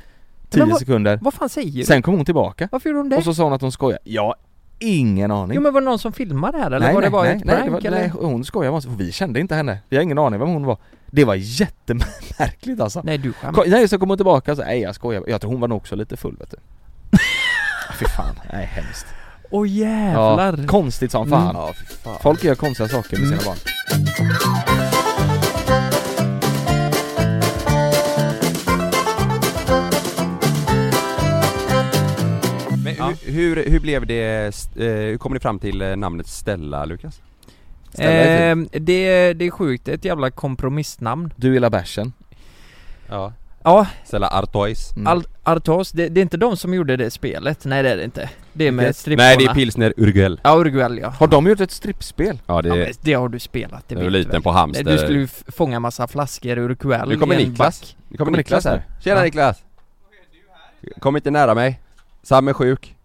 [SPEAKER 4] 10
[SPEAKER 3] vad-
[SPEAKER 4] sekunder
[SPEAKER 3] Vad fan säger du?
[SPEAKER 4] Sen kom hon tillbaka
[SPEAKER 3] Varför gjorde hon det?
[SPEAKER 4] och så sa hon att hon skojar Jag har ingen aning
[SPEAKER 3] jo men var det någon som filmade det här eller var det bara ett
[SPEAKER 4] det
[SPEAKER 3] prank
[SPEAKER 4] var,
[SPEAKER 3] eller?
[SPEAKER 4] nej,
[SPEAKER 3] Nej.
[SPEAKER 4] hon skojar bara, vi kände inte henne, vi har ingen aning vem hon var Det var jättemärkligt alltså
[SPEAKER 3] du skämtar.
[SPEAKER 4] Ko- Nej så kom hon tillbaka och sa, nej jag skojar, jag tror hon var nog också lite full
[SPEAKER 3] *laughs*
[SPEAKER 4] vet du Fy fan, nej hemskt
[SPEAKER 3] Åh
[SPEAKER 4] ja,
[SPEAKER 3] jävlar!
[SPEAKER 4] Konstigt som fan,
[SPEAKER 3] Mm.
[SPEAKER 2] Ja, fy fan.
[SPEAKER 4] folk gör konstiga saker med sina barn
[SPEAKER 2] Men hur, hur, hur blev det, st- eh, hur kom ni fram till eh, namnet Stella Lukas?
[SPEAKER 3] eh, det, det är sjukt, ett jävla kompromissnamn.
[SPEAKER 4] Du gillar bärsen
[SPEAKER 2] Ja
[SPEAKER 3] Ja,
[SPEAKER 2] Stella Artois
[SPEAKER 4] Mm.
[SPEAKER 3] Al- Artos, det, det är inte de som gjorde det spelet. Nej det är det inte. Det är med stripporna.
[SPEAKER 2] Nej det är pilsner Urgell
[SPEAKER 3] Ja, Uruguay ja.
[SPEAKER 4] Har de gjort ett strippspel?
[SPEAKER 2] Ja det
[SPEAKER 3] Ja,
[SPEAKER 2] är,
[SPEAKER 3] men det har du spelat, det
[SPEAKER 2] det är
[SPEAKER 3] vet du väl?
[SPEAKER 2] liten på Hamster
[SPEAKER 3] Du skulle ju f- fånga massa flaskor ur kväll
[SPEAKER 2] Nu kommer
[SPEAKER 3] i en
[SPEAKER 2] Niklas.
[SPEAKER 3] back.
[SPEAKER 2] Nu kommer
[SPEAKER 4] Kommer
[SPEAKER 2] Niklas
[SPEAKER 4] Niklas
[SPEAKER 2] här. Tjena Niklas! Kom inte nära mig. Sam är sjuk.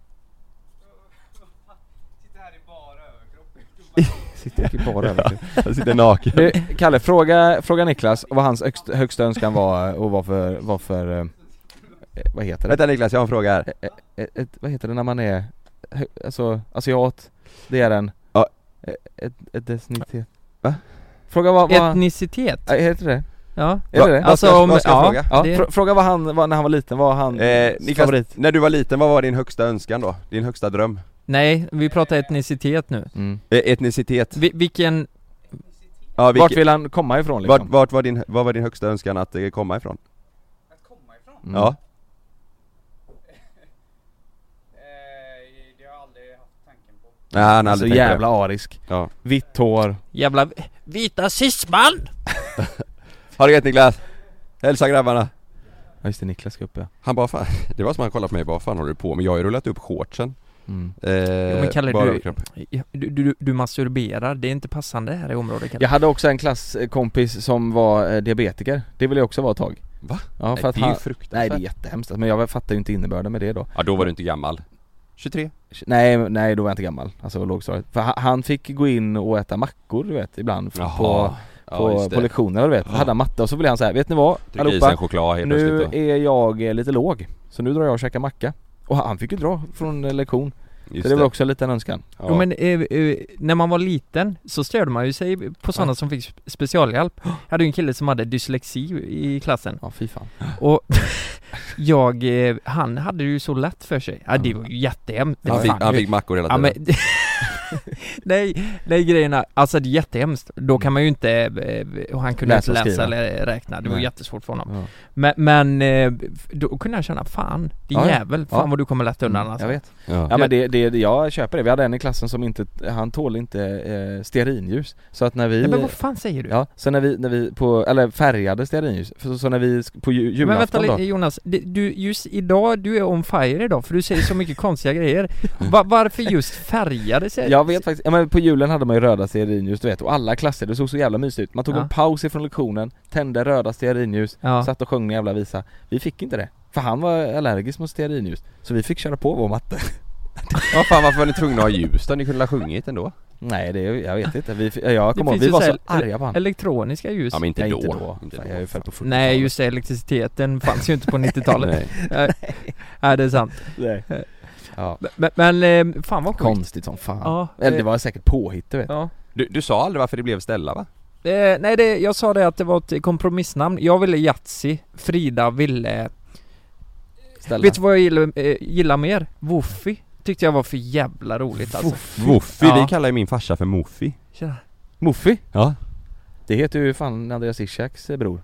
[SPEAKER 4] Sitter i bara överkropp.
[SPEAKER 2] Jag sitter naken.
[SPEAKER 4] Du, Kalle, fråga, fråga Niklas vad hans högst, högsta önskan var och vad för, vad för, eh, vad heter det?
[SPEAKER 2] Vänta Niklas, jag har en fråga här.
[SPEAKER 4] Eh, eh, ett, vad heter det när man är, hö- alltså asiat, det är en
[SPEAKER 2] Ja.
[SPEAKER 4] Eh, Ett, ett desnitet
[SPEAKER 2] Va?
[SPEAKER 4] Fråga vad, vad
[SPEAKER 3] Etnicitet?
[SPEAKER 4] eh, heter det
[SPEAKER 3] Ja.
[SPEAKER 4] Är det det?
[SPEAKER 3] Alltså
[SPEAKER 2] Vad ska-
[SPEAKER 3] om,
[SPEAKER 2] vad ska jag fråga?
[SPEAKER 3] ja,
[SPEAKER 4] Ja,
[SPEAKER 3] det-
[SPEAKER 4] fr- fråga vad han, vad, när han var liten, vad han
[SPEAKER 2] Eh, Niklas,
[SPEAKER 4] favorit?
[SPEAKER 2] när du var liten, vad var din högsta önskan då? Din högsta dröm?
[SPEAKER 3] nej, vi pratar etnicitet nu.
[SPEAKER 4] Mm.
[SPEAKER 2] Eh, etnicitet?
[SPEAKER 3] Vi, vilken,
[SPEAKER 2] Ja,
[SPEAKER 4] Vart
[SPEAKER 2] vilke, vart,
[SPEAKER 4] vill han komma ifrån
[SPEAKER 2] vart,
[SPEAKER 4] liksom?
[SPEAKER 2] var din, vad var din högsta önskan att eh, komma ifrån?
[SPEAKER 4] Mm.
[SPEAKER 2] Ja. Nej han
[SPEAKER 4] Alltså
[SPEAKER 2] har aldrig tänkt på
[SPEAKER 4] jävla arisk,
[SPEAKER 2] det. Ja.
[SPEAKER 4] vitt hår
[SPEAKER 3] jävla, vita cisman!
[SPEAKER 2] Ha det gött Niklas! Hälsa grabbarna!
[SPEAKER 4] Ja just det, Niklas ska upp ja
[SPEAKER 2] Han bara fan, det var som han kollade på mig bara fan håller du på med? Jag har ju rullat upp shortsen
[SPEAKER 4] mm.
[SPEAKER 2] eh,
[SPEAKER 3] men Kalle,
[SPEAKER 2] bara
[SPEAKER 3] du-
[SPEAKER 2] överkropp.
[SPEAKER 3] Du, du, du masturberar, det är inte passande här i området Kalle.
[SPEAKER 4] Jag hade också en klasskompis som var eh, diabetiker, det ville jag också vara ett tag
[SPEAKER 2] Va?
[SPEAKER 4] Ja, för
[SPEAKER 2] Nej,
[SPEAKER 4] att
[SPEAKER 2] det är ju
[SPEAKER 4] han, nej
[SPEAKER 2] fruktansvärt
[SPEAKER 4] det är jättehemskt, men jag fattar ju inte innebörden med det då
[SPEAKER 2] Ja då var du inte gammal 23?
[SPEAKER 4] Nej, nej då var jag inte gammal, alltså lågstadiet. För han, han fick gå in och äta mackor du vet ibland på, på, på lektionerna du vet. Hade han matte och så blev han så här, vet ni vad
[SPEAKER 2] Tryckte i sig
[SPEAKER 4] allihopa?
[SPEAKER 2] en choklad helt
[SPEAKER 4] Nu
[SPEAKER 2] plötsligt då.
[SPEAKER 4] är jag eh, lite låg. Så nu drar jag och käkar macka. Och han fick ju dra från eh, lektion.
[SPEAKER 2] Just
[SPEAKER 4] så det var också en liten önskan.
[SPEAKER 2] Ja.
[SPEAKER 3] Jo men eh, eh, när man var liten så störde man ju sig på sådana
[SPEAKER 4] Ja.
[SPEAKER 3] som fick sp- specialhjälp Jag hade ju en kille som hade dyslexi i klassen
[SPEAKER 4] Ja fy fan.
[SPEAKER 3] och *laughs* jag, eh, han hade det ju så lätt för sig Ja det var ju jättehemskt
[SPEAKER 2] han, fick,
[SPEAKER 3] Fan,
[SPEAKER 2] han
[SPEAKER 3] du-
[SPEAKER 2] fick mackor hela
[SPEAKER 3] Ja
[SPEAKER 2] tiden.
[SPEAKER 3] men *laughs* Nej, nej grejerna, alltså det är jättehemskt Då kan man ju inte, eh, och han kunde
[SPEAKER 4] Mm. Läsa
[SPEAKER 3] läsa,
[SPEAKER 4] och
[SPEAKER 3] inte läsa
[SPEAKER 4] skriva.
[SPEAKER 3] eller räkna, det var
[SPEAKER 4] Nej.
[SPEAKER 3] jättesvårt för honom
[SPEAKER 4] Ja.
[SPEAKER 3] Men, men eh, då kunde jag känna, fan din
[SPEAKER 4] Ja, ja.
[SPEAKER 3] jävel, fan
[SPEAKER 4] Ja.
[SPEAKER 3] vad du kommer lätt undan
[SPEAKER 4] Jag
[SPEAKER 3] alltså.
[SPEAKER 4] vet.
[SPEAKER 2] ja.
[SPEAKER 4] Ja men det, det, det- jag köper det. Vi hade en i klassen som inte, han tål inte eh, stearinljus. Så att när vi...
[SPEAKER 3] Nej men vad fan säger du?
[SPEAKER 4] Ja, så när vi, när vi på, eller färgade stearinljus, för så, så när vi sk- på ju,
[SPEAKER 3] Men vänta
[SPEAKER 4] julafton då
[SPEAKER 3] lite Jonas, Det- du, just idag, du är on fire idag för du säger så mycket konstiga grejer Va, Varför just färgade sig?
[SPEAKER 4] Mm. Jag vet faktiskt, ja, men på julen hade man ju röda stearinljus du vet och alla klasser, det såg så jävla mysigt ut. Man tog
[SPEAKER 3] Ja.
[SPEAKER 4] en paus ifrån lektionen, tände röda stearinljus,
[SPEAKER 3] Ja.
[SPEAKER 4] satt och sjöng en jävla visa. Vi fick inte det, för han var allergisk mot stearinljus. Så vi fick köra på vår matte.
[SPEAKER 2] ja fan varför var ni tvungna att ha ljus då? Ni kunde ha sjungit ändå?
[SPEAKER 4] Nej det, jag vet inte, vi, fi- jag
[SPEAKER 3] Det
[SPEAKER 4] kommer ihåg,
[SPEAKER 3] finns
[SPEAKER 4] vi
[SPEAKER 3] ju
[SPEAKER 4] var
[SPEAKER 3] så
[SPEAKER 4] så
[SPEAKER 3] här-
[SPEAKER 4] arga på honom.
[SPEAKER 3] Elektroniska ljus?
[SPEAKER 2] Ja men inte
[SPEAKER 4] Nej,
[SPEAKER 2] då.
[SPEAKER 4] inte då.
[SPEAKER 2] Inte
[SPEAKER 4] Fan, jag är ju född på 40-talet.
[SPEAKER 3] Nej just det, elektriciteten fanns ju inte
[SPEAKER 4] *laughs*
[SPEAKER 3] på 90-talet
[SPEAKER 2] Nej.
[SPEAKER 3] Nej. *laughs* Nej det är sant
[SPEAKER 4] Nej. Ja.
[SPEAKER 3] Men, men eh, fan vad sjukt
[SPEAKER 4] Konstigt som fan.
[SPEAKER 3] Ja,
[SPEAKER 4] Eller det
[SPEAKER 3] eh,
[SPEAKER 4] var säkert påhitt du vet.
[SPEAKER 3] Ja.
[SPEAKER 2] Du, du sa aldrig varför det blev Stella va?
[SPEAKER 3] Eh, nej, det, jag sa det att det var ett kompromissnamn. Jag ville Yatzy, Frida ville...
[SPEAKER 4] Ställa.
[SPEAKER 3] Vet du vad jag gillar, eh, gillar mer? Woofy. Tyckte jag var för jävla roligt alltså.
[SPEAKER 2] Muffi,
[SPEAKER 3] Ja.
[SPEAKER 2] vi kallar ju min farsa för Muffi.
[SPEAKER 3] Tjena.
[SPEAKER 4] Muffi?
[SPEAKER 2] Ja.
[SPEAKER 4] Det heter ju fan Andreas Ishaks eh, bror.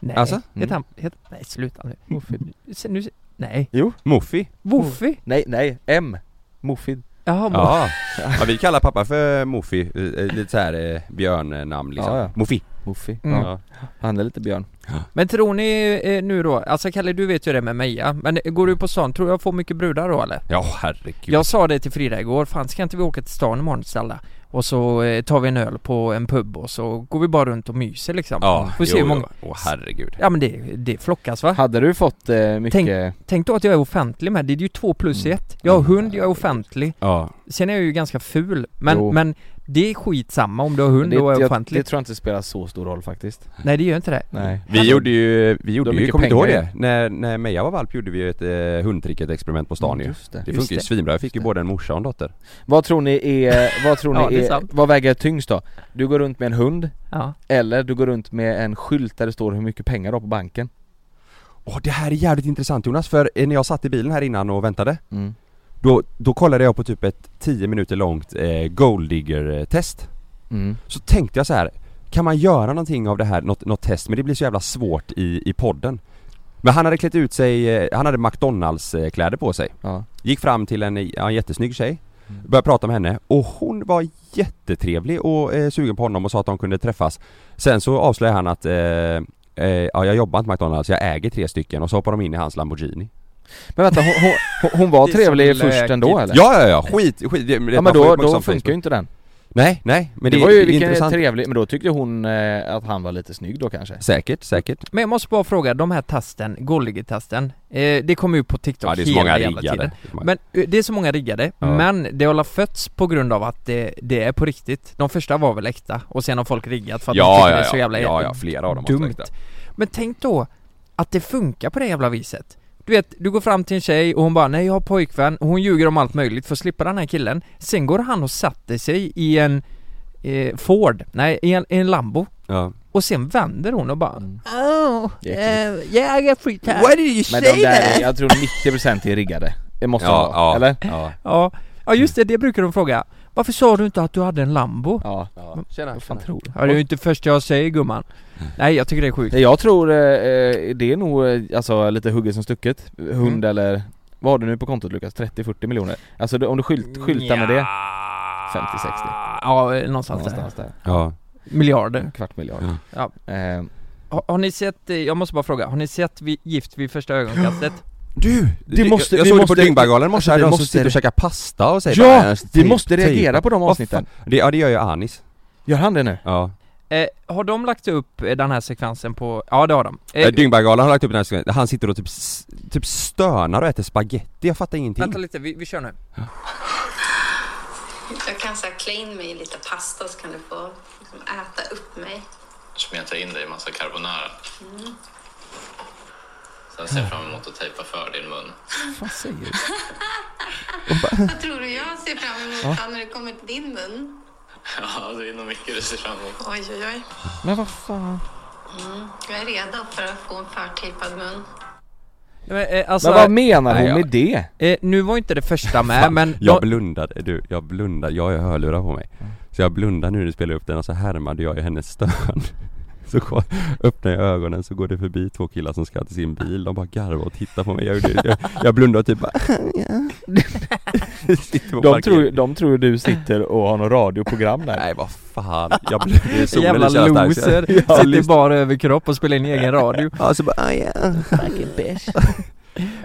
[SPEAKER 3] Nej,
[SPEAKER 2] Alltså?
[SPEAKER 3] heter
[SPEAKER 4] Mm.
[SPEAKER 3] han, heter, nej sluta nu.
[SPEAKER 4] Muffi.
[SPEAKER 3] Se, nu. Nej.
[SPEAKER 2] Muffi?
[SPEAKER 3] Woofy?
[SPEAKER 4] Nej, nej, M. Muffid.
[SPEAKER 3] Jaha, ja.
[SPEAKER 2] Ja. ja vi kallar pappa för Muffi, eh, eh, lite så här eh, björnnamn liksom.
[SPEAKER 4] Ja, ja.
[SPEAKER 2] Muffi.
[SPEAKER 4] Muffi.
[SPEAKER 3] Mm.
[SPEAKER 4] Ja. Han är lite björn.
[SPEAKER 3] Men tror ni eh, nu då, alltså Kalle du vet ju det med Meja, men eh, går du på stan, tror jag får mycket brudar då eller?
[SPEAKER 2] Ja herregud.
[SPEAKER 3] Jag sa det till Frida igår, fan ska inte vi åka till stan imorgon Stella? Och så eh, tar vi en öl på en pub och så går vi bara runt och myser liksom.
[SPEAKER 2] Ja,
[SPEAKER 3] Får se
[SPEAKER 2] jo,
[SPEAKER 3] hur många...
[SPEAKER 2] jo. Åh herregud.
[SPEAKER 3] Ja men det, det flockas va?
[SPEAKER 4] Hade du fått eh, mycket...
[SPEAKER 3] Tänk då att jag är offentlig med, det är ju två plus i
[SPEAKER 4] Mm.
[SPEAKER 3] ett. Jag har
[SPEAKER 4] Mm.
[SPEAKER 3] hund, jag är offentlig.
[SPEAKER 2] Ja.
[SPEAKER 3] Sen är jag ju ganska ful, men,
[SPEAKER 4] Jo.
[SPEAKER 3] men det är skitsamma om du har hund
[SPEAKER 4] det,
[SPEAKER 3] och är
[SPEAKER 4] jag,
[SPEAKER 3] offentlig.
[SPEAKER 4] det tror jag inte spelar så stor roll faktiskt.
[SPEAKER 3] Nej det gör inte det.
[SPEAKER 4] Nej.
[SPEAKER 2] Vi gjorde ju,
[SPEAKER 4] Det
[SPEAKER 2] vi gjorde
[SPEAKER 4] var
[SPEAKER 2] ju,
[SPEAKER 4] Alltså, mycket
[SPEAKER 2] kommer inte ihåg
[SPEAKER 4] pengar.
[SPEAKER 2] det? När, när Meja var valp gjorde vi ju ett eh, hundtricket-experiment på stan ju.
[SPEAKER 4] Just det.
[SPEAKER 2] Det
[SPEAKER 3] Just
[SPEAKER 2] funkar ju
[SPEAKER 3] det.
[SPEAKER 2] svinbra, jag fick ju
[SPEAKER 4] Just det.
[SPEAKER 2] både en morsa och en dotter.
[SPEAKER 4] Vad tror ni
[SPEAKER 2] *laughs*
[SPEAKER 4] är... Vad tror ni
[SPEAKER 3] Ja, det är
[SPEAKER 4] är...
[SPEAKER 3] sant.
[SPEAKER 4] vad väger tyngst då? Du går runt med en hund,
[SPEAKER 3] Ja.
[SPEAKER 4] eller du går runt med en skylt där det står hur mycket pengar du har på banken?
[SPEAKER 2] Åh det här är jävligt intressant Jonas, för eh, när jag satt i bilen här innan och väntade
[SPEAKER 4] Mm.
[SPEAKER 2] Då, då kollade jag på typ ett 10 minuter långt eh, golddigger-test
[SPEAKER 4] Mm.
[SPEAKER 2] Så tänkte jag så här. kan man göra någonting av det här, något, något test? Men det blir så jävla svårt i, i podden Men han hade klätt ut sig, eh, han hade McDonalds eh, kläder på sig
[SPEAKER 4] Ja.
[SPEAKER 2] Gick fram till en, ja, en jättesnygg tjej
[SPEAKER 4] Mm.
[SPEAKER 2] Började prata med henne och hon var jättetrevlig och eh, sugen på honom och sa att de kunde träffas Sen så avslöjade han att eh, eh, ja, jag jobbar inte på McDonalds, jag äger tre stycken och så hoppar de in i hans Lamborghini
[SPEAKER 4] Men vänta, hon, hon- hon, hon var
[SPEAKER 3] Det är
[SPEAKER 4] trevlig
[SPEAKER 3] så
[SPEAKER 4] först
[SPEAKER 3] lökigt.
[SPEAKER 4] ändå eller?
[SPEAKER 2] Ja ja ja, skit, skit det-
[SPEAKER 4] ja
[SPEAKER 2] man
[SPEAKER 4] men
[SPEAKER 2] får
[SPEAKER 4] då,
[SPEAKER 2] ju
[SPEAKER 4] då
[SPEAKER 2] liksom
[SPEAKER 4] funkar ju inte den.
[SPEAKER 2] Nej, nej, men
[SPEAKER 4] det,
[SPEAKER 2] det,
[SPEAKER 4] var ju
[SPEAKER 2] är
[SPEAKER 4] vilken
[SPEAKER 2] intressant
[SPEAKER 4] trevlig, men då tyckte hon eh, att han var lite snygg då kanske?
[SPEAKER 2] Säkert, säkert
[SPEAKER 3] Men jag måste bara fråga, de här testen, Golliger-testen, eh, det kommer ju på TikTok
[SPEAKER 2] Ja det är så
[SPEAKER 3] hela
[SPEAKER 2] många
[SPEAKER 3] jävla tiden.
[SPEAKER 2] riggade
[SPEAKER 3] Men eh, det är så många riggade,
[SPEAKER 2] Ja.
[SPEAKER 3] men det har alla fötts på grund av att det, det är på riktigt. De första var väl äkta, och sen har folk riggat för att de tycker
[SPEAKER 2] Ja ja
[SPEAKER 3] det är så
[SPEAKER 2] ja,
[SPEAKER 3] jävla
[SPEAKER 2] ja, ja, flera av dem har
[SPEAKER 3] dumt.
[SPEAKER 2] sagt det.
[SPEAKER 3] Men tänk då att det funkar på det jävla viset. Du vet, du går fram till en tjej och hon bara nej jag har pojkvän och hon ljuger om allt möjligt för att slippa den här killen. Sen går han och sätter sig i en eh, Ford, nej i en, i en Lambo.
[SPEAKER 2] Ja.
[SPEAKER 3] Och sen vänder hon och bara
[SPEAKER 4] Mm.
[SPEAKER 3] Oh,
[SPEAKER 4] Det är
[SPEAKER 3] yeah I got free time.
[SPEAKER 2] did you
[SPEAKER 4] Men de där, jag tror 90% är riggade. Det måste
[SPEAKER 2] Ja,
[SPEAKER 4] de vara,
[SPEAKER 2] ja,
[SPEAKER 4] eller?
[SPEAKER 2] ja,
[SPEAKER 3] Ja, ja just det, det brukar de fråga. Varför sa du inte att du hade en Lambo?
[SPEAKER 4] Ja.
[SPEAKER 2] ja. Tjena,
[SPEAKER 4] Vad fan tror du?
[SPEAKER 3] Ja, det är ju inte först jag säger gumman.
[SPEAKER 4] Mm.
[SPEAKER 3] Nej jag tycker det är sjukt.
[SPEAKER 4] Nej, Jag tror eh, eh, det är nog eh, alltså, lite hugget som stucket,
[SPEAKER 3] Mm.
[SPEAKER 4] hund eller vad har du nu på kontot Lukas? 30-40 miljoner? Alltså det- om du skylt, skyltar med det, 50-60.
[SPEAKER 3] Ja, eh, någonstans,
[SPEAKER 4] någonstans där,
[SPEAKER 2] Ja.
[SPEAKER 3] där. Miljarder.
[SPEAKER 4] en kvart miljard.
[SPEAKER 3] Ja.
[SPEAKER 4] Eh,
[SPEAKER 3] Har, har ni sett, eh, jag måste bara fråga, har ni sett vi, Gift vid första ögonkastet?
[SPEAKER 4] *gasps*
[SPEAKER 2] Du!
[SPEAKER 4] Det måste-
[SPEAKER 2] jag, jag
[SPEAKER 4] vi
[SPEAKER 2] såg
[SPEAKER 4] måste-
[SPEAKER 2] det på Dyngbaggegalan i morse,
[SPEAKER 4] alltså,
[SPEAKER 2] här,
[SPEAKER 4] vi
[SPEAKER 2] de som
[SPEAKER 4] måste
[SPEAKER 2] sitter
[SPEAKER 4] re-
[SPEAKER 2] och käkar pasta och säger
[SPEAKER 4] Ja!
[SPEAKER 2] bara,
[SPEAKER 4] Vi
[SPEAKER 2] typ,
[SPEAKER 4] måste
[SPEAKER 2] typ.
[SPEAKER 4] reagera på de
[SPEAKER 2] Vad
[SPEAKER 4] avsnitten.
[SPEAKER 2] fan? Det, ja det gör ju Anis
[SPEAKER 4] Gör han det nu?
[SPEAKER 2] Ja,
[SPEAKER 3] Eh, har de lagt upp eh, den här sekvensen på, ja det har de. Eh,
[SPEAKER 2] eh, Dyngbaggegalan har lagt upp den här sekvensen. han sitter och typ, s- typ stönar och äter spaghetti. jag fattar ingenting
[SPEAKER 3] vänta lite, vi, vi kör nu.
[SPEAKER 6] Jag kan så här klä in mig i lite pasta så kan du få liksom, äta upp mig.
[SPEAKER 7] Mm. smeta in dig i massa carbonara. Sen ser jag fram emot att tejpa för din mun.
[SPEAKER 2] Vad säger du?
[SPEAKER 6] *laughs* Vad tror du jag ser fram emot då när det kommer till din mun?
[SPEAKER 7] Ja, det är nog mycket du ser fram emot.
[SPEAKER 6] Oj, oj, oj.
[SPEAKER 4] Men vad fan?
[SPEAKER 6] Jag är redo för att få en förtejpad mun.
[SPEAKER 3] Nej, Men, eh, alltså,
[SPEAKER 4] Men vad menar
[SPEAKER 2] Nej,
[SPEAKER 4] hon
[SPEAKER 2] jag-
[SPEAKER 4] med det?
[SPEAKER 3] eh, nu var inte det första med men...
[SPEAKER 2] Jag
[SPEAKER 3] de-
[SPEAKER 2] blundade, du, jag blundade, jag har ju hörlurar på mig Så jag blundade nu när du spelade upp den och så härmade jag ju hennes stön *laughs* Så ko- öppnar jag ögonen så går det förbi två killar som ska till sin bil, de bara garvar och tittar på mig Jag, gjorde- jag, jag blundade och typ bara *laughs* Sitter på
[SPEAKER 4] De
[SPEAKER 2] parkeringen.
[SPEAKER 4] tror, de tror du sitter och har något radioprogram där.
[SPEAKER 2] Nej vad fan, jag blev solen
[SPEAKER 3] Jävla
[SPEAKER 2] är så jävla stark, så jag-
[SPEAKER 4] *laughs*
[SPEAKER 3] loser, sitter bara över kropp och spelar in egen radio
[SPEAKER 2] Ja så bara, ah, yeah. *laughs*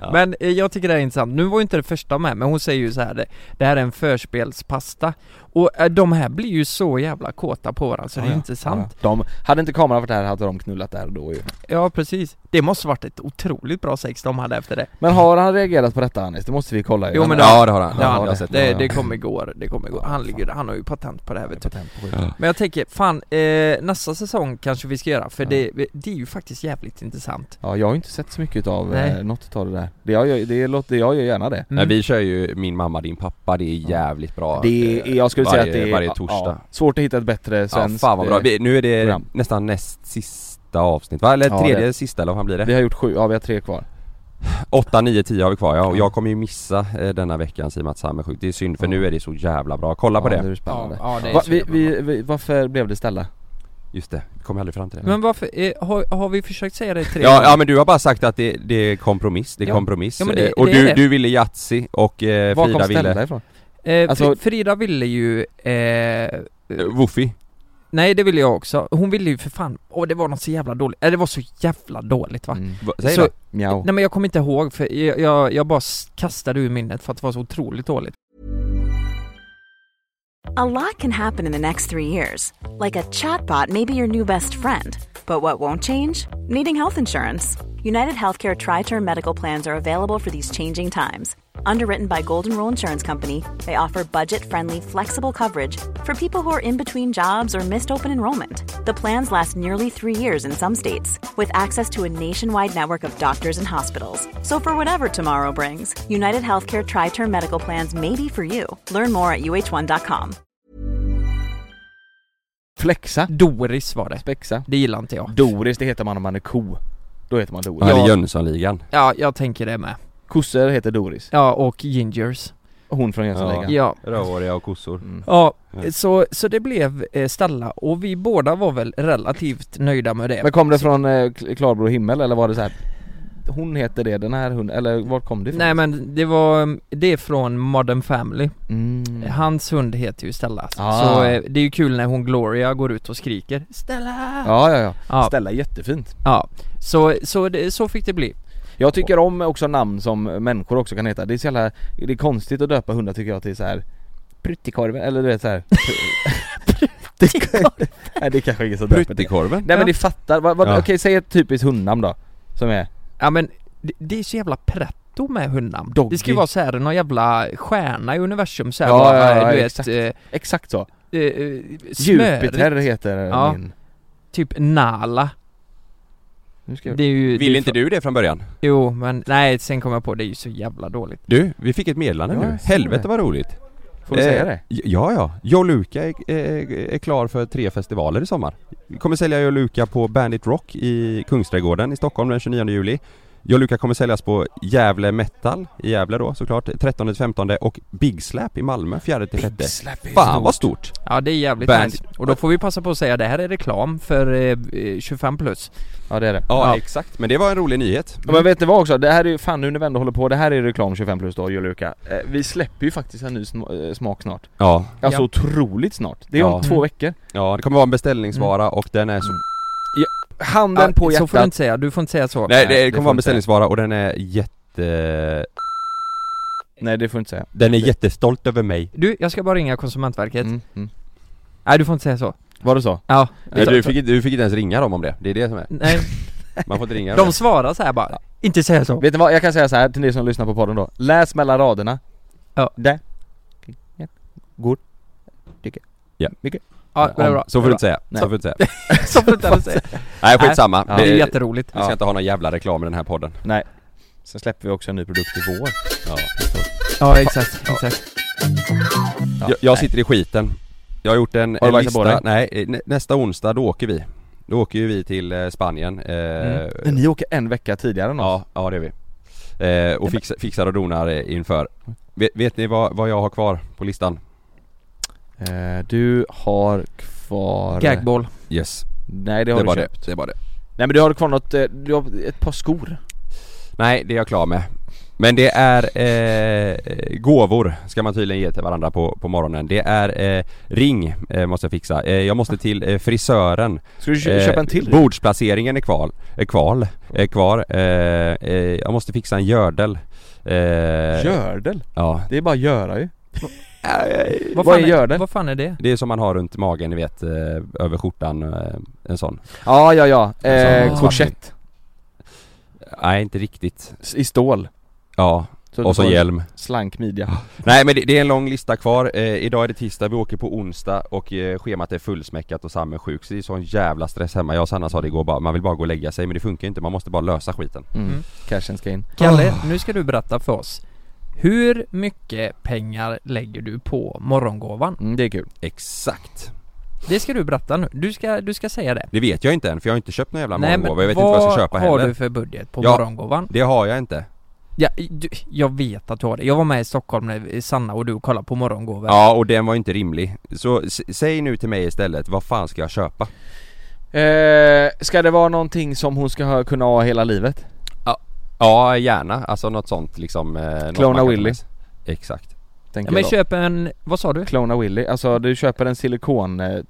[SPEAKER 2] Ja.
[SPEAKER 3] Men eh, jag tycker det här är intressant, nu var ju inte det första med, men hon säger ju så här det, det här är en förspelspasta Och eh, de här blir ju så jävla kåta på varandra så det är
[SPEAKER 4] Ja, ja.
[SPEAKER 3] inte sant
[SPEAKER 4] Ja. De, hade inte kameran varit där hade de knullat där och då ju.
[SPEAKER 3] Ja precis, det måste varit ett otroligt bra sex de hade efter det
[SPEAKER 4] Men har han reagerat på detta Anis? Det måste vi kolla ju.
[SPEAKER 3] Jo, men
[SPEAKER 4] Han-
[SPEAKER 2] Ja det har han,
[SPEAKER 4] Ja,
[SPEAKER 2] jag
[SPEAKER 3] han,
[SPEAKER 2] har
[SPEAKER 4] det-
[SPEAKER 2] sett
[SPEAKER 3] det,
[SPEAKER 2] den.
[SPEAKER 3] det kommer gå, det kommer gå.
[SPEAKER 4] Ja,
[SPEAKER 3] Han,
[SPEAKER 4] fan.
[SPEAKER 3] ligger, han har ju patent på det här vet du.
[SPEAKER 4] Patent på skiten.
[SPEAKER 2] Ja.
[SPEAKER 3] Men jag tänker, fan eh, nästa säsong kanske vi ska göra för
[SPEAKER 4] Ja.
[SPEAKER 3] det, det är ju faktiskt jävligt intressant
[SPEAKER 4] Ja, jag har ju inte sett så mycket av
[SPEAKER 3] Nej.
[SPEAKER 4] eh, något av det där. Det jag, gör, det, låter, jag gör gärna det.
[SPEAKER 3] Mm.
[SPEAKER 2] Nej vi kör ju Min mamma din pappa, det är jävligt bra Eh,
[SPEAKER 4] Det är, jag skulle
[SPEAKER 2] varje,
[SPEAKER 4] säga att det är
[SPEAKER 2] Varje torsdag
[SPEAKER 4] Ja, svårt att hitta ett bättre svenskt.
[SPEAKER 2] ja, fan vad bra.
[SPEAKER 4] eh,
[SPEAKER 2] Vi, nu är det
[SPEAKER 4] program.
[SPEAKER 2] nästan näst sista avsnitt va? Eller
[SPEAKER 4] Ja,
[SPEAKER 2] tredje
[SPEAKER 4] det-
[SPEAKER 2] sista eller vad fan blir
[SPEAKER 4] Vi
[SPEAKER 2] det?
[SPEAKER 4] har gjort sju, ja vi har tre kvar.
[SPEAKER 2] 8, 9, 10 har vi kvar ja. Och
[SPEAKER 4] Ja.
[SPEAKER 2] jag kommer ju missa eh, denna veckan i och med att Sam är sjuk. Det är synd för
[SPEAKER 4] Ja.
[SPEAKER 2] nu är det så jävla bra. Kolla på
[SPEAKER 4] ja,
[SPEAKER 2] det.
[SPEAKER 4] är spännande.
[SPEAKER 3] ja, det är
[SPEAKER 4] Va,
[SPEAKER 3] så
[SPEAKER 4] vi,
[SPEAKER 3] jävla bra.
[SPEAKER 4] vi, vi, varför blev det ställa?
[SPEAKER 2] Just det, vi kommer aldrig fram till det.
[SPEAKER 3] Men varför, eh, har, har vi försökt säga det tre
[SPEAKER 2] Ja,
[SPEAKER 3] gånger?
[SPEAKER 2] ja men du har bara sagt att det, det är kompromiss, det är
[SPEAKER 3] Ja.
[SPEAKER 2] kompromiss.
[SPEAKER 3] Ja, men det-
[SPEAKER 2] Eh, och
[SPEAKER 3] det är
[SPEAKER 2] du,
[SPEAKER 3] det.
[SPEAKER 2] du ville Yatzy och eh,
[SPEAKER 4] Var kom
[SPEAKER 2] Frida
[SPEAKER 4] ställa
[SPEAKER 2] ville...
[SPEAKER 4] ifrån?
[SPEAKER 3] Eh, Fri-
[SPEAKER 4] Alltså-
[SPEAKER 3] Frida ville ju... Eh,
[SPEAKER 2] Eh, Woofy.
[SPEAKER 3] nej det ville jag också. Hon ville ju för fan... Åh det var något så jävla dåligt. Eh, det var så jävla dåligt va?
[SPEAKER 4] Mm.
[SPEAKER 2] Va- Säg
[SPEAKER 3] Så-
[SPEAKER 2] så...
[SPEAKER 4] Mjau.
[SPEAKER 3] Nej men jag kommer inte ihåg för jag, jag, jag bara s- kastade ur minnet för att det var så otroligt dåligt.
[SPEAKER 8] A lot can happen in the next three years. Like a chatbot may be your new best friend. But what won't change? Needing health insurance. United Healthcare Tri Term Medical Plans are available for these changing times. Underwritten by Golden Rule Insurance Company, they offer budget friendly, flexible coverage for people who are in between jobs or missed open enrollment. The plans last nearly three years in some states, with access to a nationwide network of doctors and hospitals. So, for whatever tomorrow brings, United Healthcare Tri Term Medical Plans may be for you. Learn more at uh1.com.
[SPEAKER 4] Flexa.
[SPEAKER 3] Doris var det.
[SPEAKER 4] Spexa.
[SPEAKER 3] Det gillar inte jag.
[SPEAKER 4] Doris, det heter man om man är ko. Då heter man Doris.
[SPEAKER 2] Ja.
[SPEAKER 3] Ja.
[SPEAKER 2] Eller Jönssonligan.
[SPEAKER 3] Ja, jag tänker det med.
[SPEAKER 4] Kossor heter Doris.
[SPEAKER 3] Ja, och Gingers.
[SPEAKER 4] Hon från Jönssonligan.
[SPEAKER 3] Ja.
[SPEAKER 2] Rödhåriga och kossor.
[SPEAKER 4] Mm.
[SPEAKER 3] Ja,
[SPEAKER 2] Ja.
[SPEAKER 3] så, så det blev eh, Stella och vi båda var väl relativt nöjda med det.
[SPEAKER 4] Men kom det från eh, Kl- klarblå himmel eller var det så här? Hon heter det, den här hunden, eller vart kom det ifrån?
[SPEAKER 3] Nej men det var, mm, det är från Modern Family.
[SPEAKER 4] Mm.
[SPEAKER 3] Hans hund heter ju Stella.
[SPEAKER 4] Ah.
[SPEAKER 3] Så eh, det är ju kul när hon Gloria går ut och skriker Stella!
[SPEAKER 4] Ja, ja, ja.
[SPEAKER 3] Ja,
[SPEAKER 4] Ställa jättefint.
[SPEAKER 3] ja. Så, så, det, så fick det bli.
[SPEAKER 4] Jag tycker om också namn som människor också kan heta. Det är så jävla, det är konstigt att döpa hundar tycker jag till så här. Pruttikorven, eller du vet *laughs* såhär Nej det är kanske ingen som döper det
[SPEAKER 2] Pruttekorven.
[SPEAKER 4] Nej men det fattar, vad, vad,
[SPEAKER 2] Ja.
[SPEAKER 4] okej säg ett typiskt hundnamn då Som är,
[SPEAKER 3] Ja men det, det är så jävla pretto med hundnamn.
[SPEAKER 4] Doggy.
[SPEAKER 3] Det ska ju vara så här någon jävla stjärna i universum så här,
[SPEAKER 4] Ja,
[SPEAKER 3] bara,
[SPEAKER 4] ja, ja,
[SPEAKER 3] du
[SPEAKER 4] exakt.
[SPEAKER 3] vet, eh,
[SPEAKER 4] exakt så
[SPEAKER 3] eh, eh,
[SPEAKER 4] Jupiter
[SPEAKER 3] smörig,
[SPEAKER 4] heter
[SPEAKER 3] Ja.
[SPEAKER 4] min
[SPEAKER 3] typ Nala.
[SPEAKER 4] nu ska jag...
[SPEAKER 3] Det är ju, det är
[SPEAKER 2] Vill inte
[SPEAKER 3] för-
[SPEAKER 2] du det från början?
[SPEAKER 3] Jo men nej sen kom jag på det är ju så jävla dåligt.
[SPEAKER 2] Du, vi fick ett meddelande
[SPEAKER 4] Ja,
[SPEAKER 2] nu.
[SPEAKER 4] jag ser
[SPEAKER 2] Helvete
[SPEAKER 4] det.
[SPEAKER 2] vad roligt.
[SPEAKER 4] Får vi
[SPEAKER 2] Eh,
[SPEAKER 4] säga det?
[SPEAKER 2] j- Ja, ja. Joe Luca är, är, är klar för tre festivaler i sommar. Vi kommer sälja Joe Luca på Bandit Rock i Kungsträdgården i Stockholm den 29 juli. Joe Luca kommer säljas på Gävle Metal i Gävle då såklart, 13-15 och Big Slap i Malmö 4-6. Fan vad stort!
[SPEAKER 3] Ja det är jävligt
[SPEAKER 2] Band-
[SPEAKER 3] nice. Och då får vi passa på att säga det här är reklam för eh, eh, 25 plus.
[SPEAKER 4] Ja det är det
[SPEAKER 2] Ja,
[SPEAKER 3] Ja.
[SPEAKER 2] exakt, men det var en rolig nyhet.
[SPEAKER 4] Ja, Men vet ni vad också? Det här är ju, fan nu när vi ändå håller på, det här är reklam 25 plus då, Juluka. Eh, vi släpper ju faktiskt en ny sm- eh, smak snart.
[SPEAKER 2] Ja,
[SPEAKER 4] Alltså
[SPEAKER 3] Ja.
[SPEAKER 4] otroligt snart. Det är om
[SPEAKER 2] Ja.
[SPEAKER 4] två
[SPEAKER 3] Mm.
[SPEAKER 4] veckor.
[SPEAKER 2] ja det kommer vara en beställningsvara och den är så...
[SPEAKER 4] Handen på
[SPEAKER 3] så får du
[SPEAKER 4] hjärtat.
[SPEAKER 3] inte säga, du får inte säga så.
[SPEAKER 2] Nej,
[SPEAKER 4] det får
[SPEAKER 2] det kommer vara en
[SPEAKER 4] inte.
[SPEAKER 2] beställningsvara och den är jätte...
[SPEAKER 4] Nej det får du inte säga.
[SPEAKER 2] Den är jättestolt över mig.
[SPEAKER 3] Du, jag ska bara ringa Konsumentverket.
[SPEAKER 4] Mm, mm.
[SPEAKER 3] Nej du får inte säga så.
[SPEAKER 4] Var det så?
[SPEAKER 3] Ja.
[SPEAKER 2] Nej, du, fick, inte- du fick inte ens ringa dem om det, det är det som är.
[SPEAKER 3] Nej,
[SPEAKER 2] Man får inte *laughs* ringa dem.
[SPEAKER 3] de svarar så här bara. Inte säga så.
[SPEAKER 4] Vet ni vad, jag kan säga så här till ni som lyssnar på podden då. Läs mellan raderna.
[SPEAKER 3] Ja.
[SPEAKER 4] Det. Ja. Går. Tycker.
[SPEAKER 2] Ja.
[SPEAKER 4] Mycket.
[SPEAKER 3] Ja, det är bra.
[SPEAKER 2] Så
[SPEAKER 3] Det
[SPEAKER 2] får du
[SPEAKER 3] är
[SPEAKER 2] inte säga,
[SPEAKER 4] Nej.
[SPEAKER 2] så får du inte säga.
[SPEAKER 3] bra. *laughs* Som du inte säger.
[SPEAKER 2] *laughs* Nej skitsamma,
[SPEAKER 4] Ja.
[SPEAKER 3] Det är
[SPEAKER 2] vi,
[SPEAKER 3] jätteroligt.
[SPEAKER 2] vi ska inte ha någon jävla reklam i den här podden
[SPEAKER 4] Nej Sen släpper vi också en ny produkt i vår
[SPEAKER 2] ja.
[SPEAKER 3] Ja, exakt, exakt.
[SPEAKER 2] jag, jag sitter i skiten Jag har gjort en,
[SPEAKER 4] Har du
[SPEAKER 2] en
[SPEAKER 4] lagt det på dig?
[SPEAKER 2] lista, nej eh, nä- nästa onsdag då åker vi Då åker ju vi till eh, Spanien eh,
[SPEAKER 4] Mm. Men ni åker en vecka tidigare än oss?
[SPEAKER 2] Ja, ja det är vi eh, Och fix, fixar och donar eh, inför Vet, vet ni vad, vad jag har kvar på listan?
[SPEAKER 4] Eh, Du har kvar...
[SPEAKER 3] Gagball.
[SPEAKER 2] Yes,
[SPEAKER 4] Nej det
[SPEAKER 2] det,
[SPEAKER 4] har du
[SPEAKER 2] var
[SPEAKER 4] köpt
[SPEAKER 2] det, det var det
[SPEAKER 4] Nej men du har kvar något, eh, du har ett par skor
[SPEAKER 2] Nej, det är jag klar med. Men det är eh, gåvor ska man tydligen ge till varandra på, på morgonen. Det är eh, ring eh, måste jag fixa. Eh, jag måste till eh, frisören.
[SPEAKER 4] Ska du kö-
[SPEAKER 2] Eh,
[SPEAKER 4] köpa en till?
[SPEAKER 2] Bordsplaceringen är kval, är kval, är kvar. Eh, eh, jag måste fixa en gördel. Eh,
[SPEAKER 4] Gördel?
[SPEAKER 2] Ja.
[SPEAKER 4] Det är bara att göra ju
[SPEAKER 3] Vad
[SPEAKER 4] Vad
[SPEAKER 3] fan
[SPEAKER 4] är gördel?
[SPEAKER 3] Vad fan är det?
[SPEAKER 2] Det är som man har runt magen, ni vet, eh, över skjortan, eh, en sån.
[SPEAKER 4] Ja ja ja,
[SPEAKER 2] En
[SPEAKER 4] eh,
[SPEAKER 2] sån
[SPEAKER 4] korsett
[SPEAKER 2] Nej, inte riktigt.
[SPEAKER 4] S- i stål
[SPEAKER 2] Ja,
[SPEAKER 4] så du
[SPEAKER 2] och så
[SPEAKER 4] får en
[SPEAKER 2] hjälm.
[SPEAKER 4] Slank midja
[SPEAKER 2] Nej men det, det är en lång lista kvar, eh, idag är det tisdag, vi åker på onsdag och eh, schemat är fullsmäckat och Sam är sjuk så det är sån jävla stress hemma. Jag och Sanna sa det igår bara, man vill bara gå och lägga sig men det funkar inte, man måste bara lösa skiten.
[SPEAKER 4] mm. Cashen ska in
[SPEAKER 3] Kalle,
[SPEAKER 2] Ah.
[SPEAKER 3] nu ska du berätta för oss. Hur mycket pengar lägger du på morgongåvan?
[SPEAKER 4] mm, Det är kul
[SPEAKER 2] Exakt!
[SPEAKER 3] Det ska du berätta nu. Du ska, du ska säga det.
[SPEAKER 2] Det vet jag inte än för jag har inte köpt någon jävla morgongåva, jag vet inte vad jag ska köpa
[SPEAKER 3] har
[SPEAKER 2] heller.
[SPEAKER 3] du för budget på
[SPEAKER 2] Ja.
[SPEAKER 3] morgongåvan?
[SPEAKER 2] Det har jag inte.
[SPEAKER 3] Ja, du, jag vet att du har det. Jag var med i Stockholm när Sanna och du kollade på morgongåvor.
[SPEAKER 2] Ja och den var inte rimlig. Så s- säg nu till mig istället, vad fan ska jag köpa?
[SPEAKER 4] eh, Ska det vara någonting som hon ska ha, kunna ha hela livet?
[SPEAKER 2] Ja gärna, alltså något sånt liksom. Eh, något
[SPEAKER 4] Clona
[SPEAKER 2] man kan ta
[SPEAKER 4] Willy.
[SPEAKER 2] med sig. Exakt.
[SPEAKER 4] Tänker
[SPEAKER 3] Ja, men
[SPEAKER 4] jag då.
[SPEAKER 3] köp en, vad sa du?
[SPEAKER 4] Clona Willy, alltså du köper en silikon eh, t-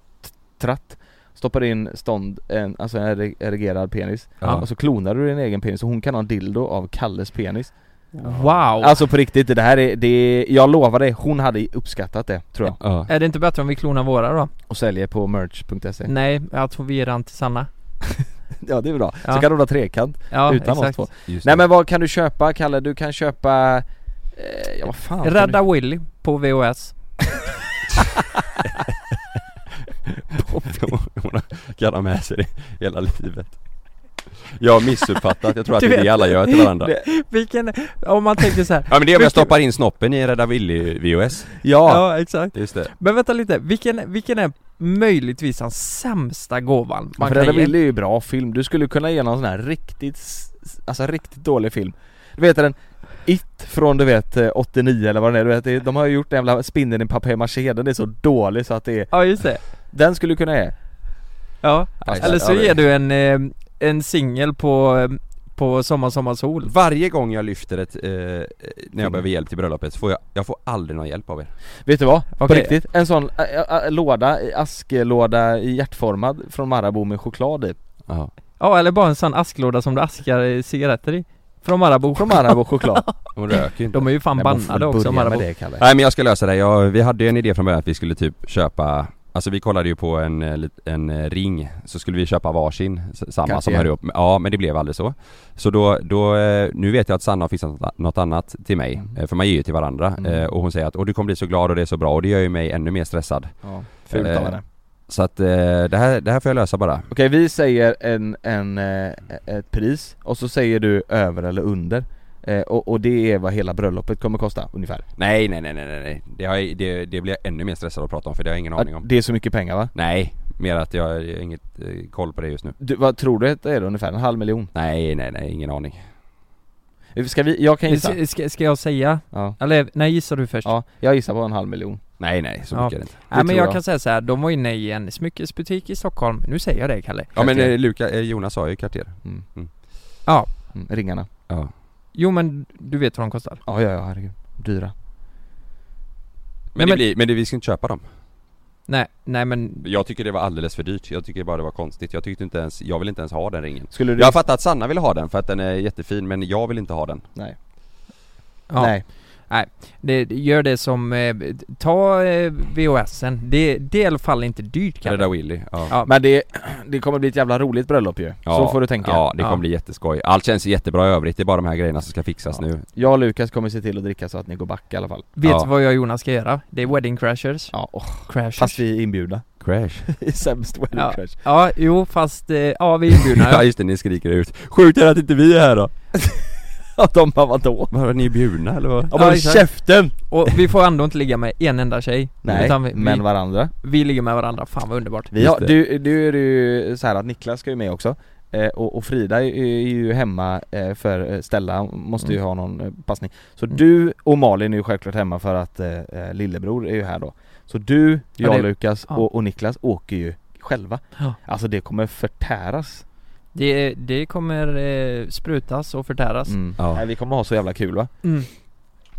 [SPEAKER 4] tratt Stoppar in stånd, en, alltså en ere- erigerad penis
[SPEAKER 2] Ja.
[SPEAKER 4] Och så klonar du din egen penis och hon kan ha en dildo av Kalles penis
[SPEAKER 3] Wow!
[SPEAKER 4] Alltså på riktigt, det här är, det är, jag lovar dig, hon hade uppskattat det tror jag
[SPEAKER 2] Ja.
[SPEAKER 3] Är det inte bättre om vi klonar våra då?
[SPEAKER 4] Och säljer på merch.se
[SPEAKER 3] Nej, jag tror vi ger den till Sanna.
[SPEAKER 4] Mm. Ja det är bra,
[SPEAKER 3] Ja.
[SPEAKER 4] så kan du ha trekant
[SPEAKER 3] Ja,
[SPEAKER 4] utan oss
[SPEAKER 3] exakt.
[SPEAKER 4] två
[SPEAKER 2] Just
[SPEAKER 4] Nej
[SPEAKER 2] det.
[SPEAKER 4] men vad kan du köpa Kalle? Du kan köpa, eh, ja vad fan kan
[SPEAKER 3] Rädda Willy på VHS.
[SPEAKER 2] Hon har- kan ha med sig det hela livet Jag har missuppfattat, jag tror att
[SPEAKER 3] Du
[SPEAKER 2] det är
[SPEAKER 3] vet.
[SPEAKER 2] det alla gör till
[SPEAKER 3] *laughs*
[SPEAKER 2] varandra
[SPEAKER 4] Det-
[SPEAKER 3] Vilken, om man tänker så här.
[SPEAKER 2] *laughs* Ja men det är om jag stoppar in snoppen i en Rädda Willy-VHS
[SPEAKER 4] du... Ja!
[SPEAKER 3] ja, exakt.
[SPEAKER 2] Just det
[SPEAKER 3] Men vänta lite, vilken, vilken är möjligtvis hans sämsta gåvan
[SPEAKER 4] Man
[SPEAKER 3] man
[SPEAKER 4] för
[SPEAKER 3] kan
[SPEAKER 4] Rädda
[SPEAKER 3] ge?
[SPEAKER 4] Willy är ju bra film, du skulle kunna ge någon sån här riktigt, s- s- alltså riktigt dålig film Du vet den It från du vet eh, 89 eller vad den är, du vet, det- de har ju gjort den jävla spindeln i papier-maché, den är så dålig så att det är
[SPEAKER 3] Ja, just det.
[SPEAKER 4] Den skulle du kunna ge
[SPEAKER 3] Ja.
[SPEAKER 2] Alltså,
[SPEAKER 3] Eller så
[SPEAKER 2] ja, det-
[SPEAKER 3] ger du en, eh, en singel på, eh, på Sommar Sommar Sol.
[SPEAKER 2] Varje gång jag lyfter ett, eh, när jag behöver hjälp till bröllopet så får jag, jag får aldrig någon hjälp av er
[SPEAKER 4] Vet du vad? På
[SPEAKER 3] Okej.
[SPEAKER 4] riktigt, en sån ä, ä, ä, låda, i- asklåda i hjärtformad från Marabou med choklad i
[SPEAKER 2] Ja
[SPEAKER 3] Ja, eller bara en sån asklåda som du askar eh, cigaretter i. Från Marabou.
[SPEAKER 4] Från
[SPEAKER 3] *laughs*
[SPEAKER 4] Marabou choklad
[SPEAKER 2] Hon röker ju inte
[SPEAKER 3] De är ju fan
[SPEAKER 4] Nej, man får
[SPEAKER 3] bannade
[SPEAKER 4] väl
[SPEAKER 3] också,
[SPEAKER 4] börja med
[SPEAKER 3] Marabou.
[SPEAKER 4] det Kalle
[SPEAKER 2] Nej men jag ska lösa det, jag, vi hade ju en idé från början att vi skulle typ köpa Alltså vi kollade ju på en, eh, lit- en eh, ring, så skulle vi köpa varsin, s- samma
[SPEAKER 4] Cartier.
[SPEAKER 2] som hör ihop med, Ja men det blev aldrig så Så då, då, eh, nu vet jag att Sanna har fixat något- något annat till mig,
[SPEAKER 4] Mm.
[SPEAKER 2] eh, för man ger ju till varandra
[SPEAKER 4] Mm.
[SPEAKER 2] Eh, Och hon säger att Åh, du kommer bli så glad och det är så bra och det gör ju mig ännu mer stressad
[SPEAKER 4] Ja, fult
[SPEAKER 2] Eh,
[SPEAKER 4] av henne
[SPEAKER 2] Så att eh, det, här, det här får jag lösa bara
[SPEAKER 4] Okej vi säger en, en, eh, ett pris och så säger du över eller under eh, och, och det är vad hela bröllopet kommer kosta ungefär
[SPEAKER 2] Nej nej nej nej nej, nej. Det, har, jag- det, det blir jag ännu mer stressad att prata om för det har jag ingen aning
[SPEAKER 4] Att
[SPEAKER 2] om
[SPEAKER 4] Det är så mycket pengar va?
[SPEAKER 2] Nej, mer att jag har inget eh, koll på det just nu
[SPEAKER 4] Du, vad tror du att det är då, ungefär? En halv miljon?
[SPEAKER 2] Nej nej nej, ingen aning
[SPEAKER 4] Ska vi, jag kan gissa?
[SPEAKER 3] Ska- Ska, ska jag säga?
[SPEAKER 4] Ja,
[SPEAKER 3] Eller nej, gissar du först?
[SPEAKER 4] ja jag gissar på en halv miljon
[SPEAKER 2] Nej nej, så
[SPEAKER 3] Ja.
[SPEAKER 2] mycket är det inte
[SPEAKER 3] Nej men
[SPEAKER 4] tror
[SPEAKER 3] jag,
[SPEAKER 4] jag.
[SPEAKER 3] kan säga så här, de var inne i en smyckesbutik i Stockholm, nu säger jag det Kalle
[SPEAKER 2] Ja men
[SPEAKER 4] Cartier.
[SPEAKER 2] eh, Luka, eh, Jonas sa ju Cartier
[SPEAKER 4] mm.
[SPEAKER 3] Ja,
[SPEAKER 4] Mm. Ringarna?
[SPEAKER 2] Ja
[SPEAKER 3] jo men du vet vad de kostar
[SPEAKER 4] Ja ja ja herregud, dyra
[SPEAKER 2] men, det
[SPEAKER 3] men-
[SPEAKER 2] blir, men det, vi ska inte köpa dem.
[SPEAKER 3] Nej, nej men
[SPEAKER 2] Jag tycker det var alldeles för dyrt. Jag tycker bara det var konstigt. Jag tyckte inte ens, jag vill inte ens ha den ringen.
[SPEAKER 4] Skulle du?
[SPEAKER 2] Jag fattar att Sanna vill ha den för att den är jättefin men jag vill inte ha den.
[SPEAKER 4] Nej,
[SPEAKER 3] ja,
[SPEAKER 4] nej
[SPEAKER 3] Det, gör det som, eh, ta eh, VHSen, det, det är i alla fall inte dyrt
[SPEAKER 2] Rädda
[SPEAKER 3] Kalle
[SPEAKER 2] Willy. Ja.
[SPEAKER 3] Ja.
[SPEAKER 4] Men det, det kommer bli ett jävla roligt bröllop ju, så får du tänka
[SPEAKER 2] Ja, det
[SPEAKER 3] Ja.
[SPEAKER 2] kommer bli jätteskoj. Allt känns jättebra i övrigt. Det är bara de här grejerna som ska fixas
[SPEAKER 4] Ja.
[SPEAKER 2] nu.
[SPEAKER 4] Jag och Lukas kommer se till att dricka så att ni går back i alla fall
[SPEAKER 3] Vet
[SPEAKER 2] Ja.
[SPEAKER 3] du vad jag och Jonas ska göra? Det är wedding crashers
[SPEAKER 4] Ja, åh,
[SPEAKER 3] Crashers
[SPEAKER 4] fast vi är inbjudna *laughs*
[SPEAKER 2] Crash.
[SPEAKER 4] I sämst wedding
[SPEAKER 3] Ja.
[SPEAKER 4] crash
[SPEAKER 3] Ja, jo fast, eh, ja vi är
[SPEAKER 2] *laughs*
[SPEAKER 3] inbjudna
[SPEAKER 2] Ja
[SPEAKER 3] ja.
[SPEAKER 2] just det, ni skriker ut. Sjukt är det att inte vi är här då.
[SPEAKER 4] Ja de bara vadå?
[SPEAKER 2] Var ni bjudna eller vad?
[SPEAKER 4] Ja bara
[SPEAKER 3] exakt.
[SPEAKER 4] käften!
[SPEAKER 3] Och vi får ändå inte ligga med en enda tjej
[SPEAKER 4] Nej,
[SPEAKER 3] Utan vi,
[SPEAKER 4] men
[SPEAKER 3] vi,
[SPEAKER 4] varandra
[SPEAKER 3] vi ligger med varandra, fan vad underbart
[SPEAKER 4] Vi har,
[SPEAKER 2] det.
[SPEAKER 4] du, du är det ju så här att Niklas ska ju med också eh, och, och Frida är ju- är ju hemma eh, för eh, Stella måste ju
[SPEAKER 3] Mm.
[SPEAKER 4] ha någon eh, passning Så
[SPEAKER 3] Mm.
[SPEAKER 4] du och Malin är ju självklart hemma för att eh, eh, lillebror är ju här då Så du,
[SPEAKER 3] Ja,
[SPEAKER 4] jag,
[SPEAKER 3] det-
[SPEAKER 4] Lukas
[SPEAKER 3] ja.
[SPEAKER 4] och, och Niklas åker ju själva
[SPEAKER 3] Ja.
[SPEAKER 4] Alltså det kommer förtäras
[SPEAKER 3] Det, det kommer eh, sprutas och förtäras
[SPEAKER 4] mm.
[SPEAKER 2] Ja.
[SPEAKER 4] Nej, Vi kommer ha så jävla kul va?
[SPEAKER 3] Alltså. Mm.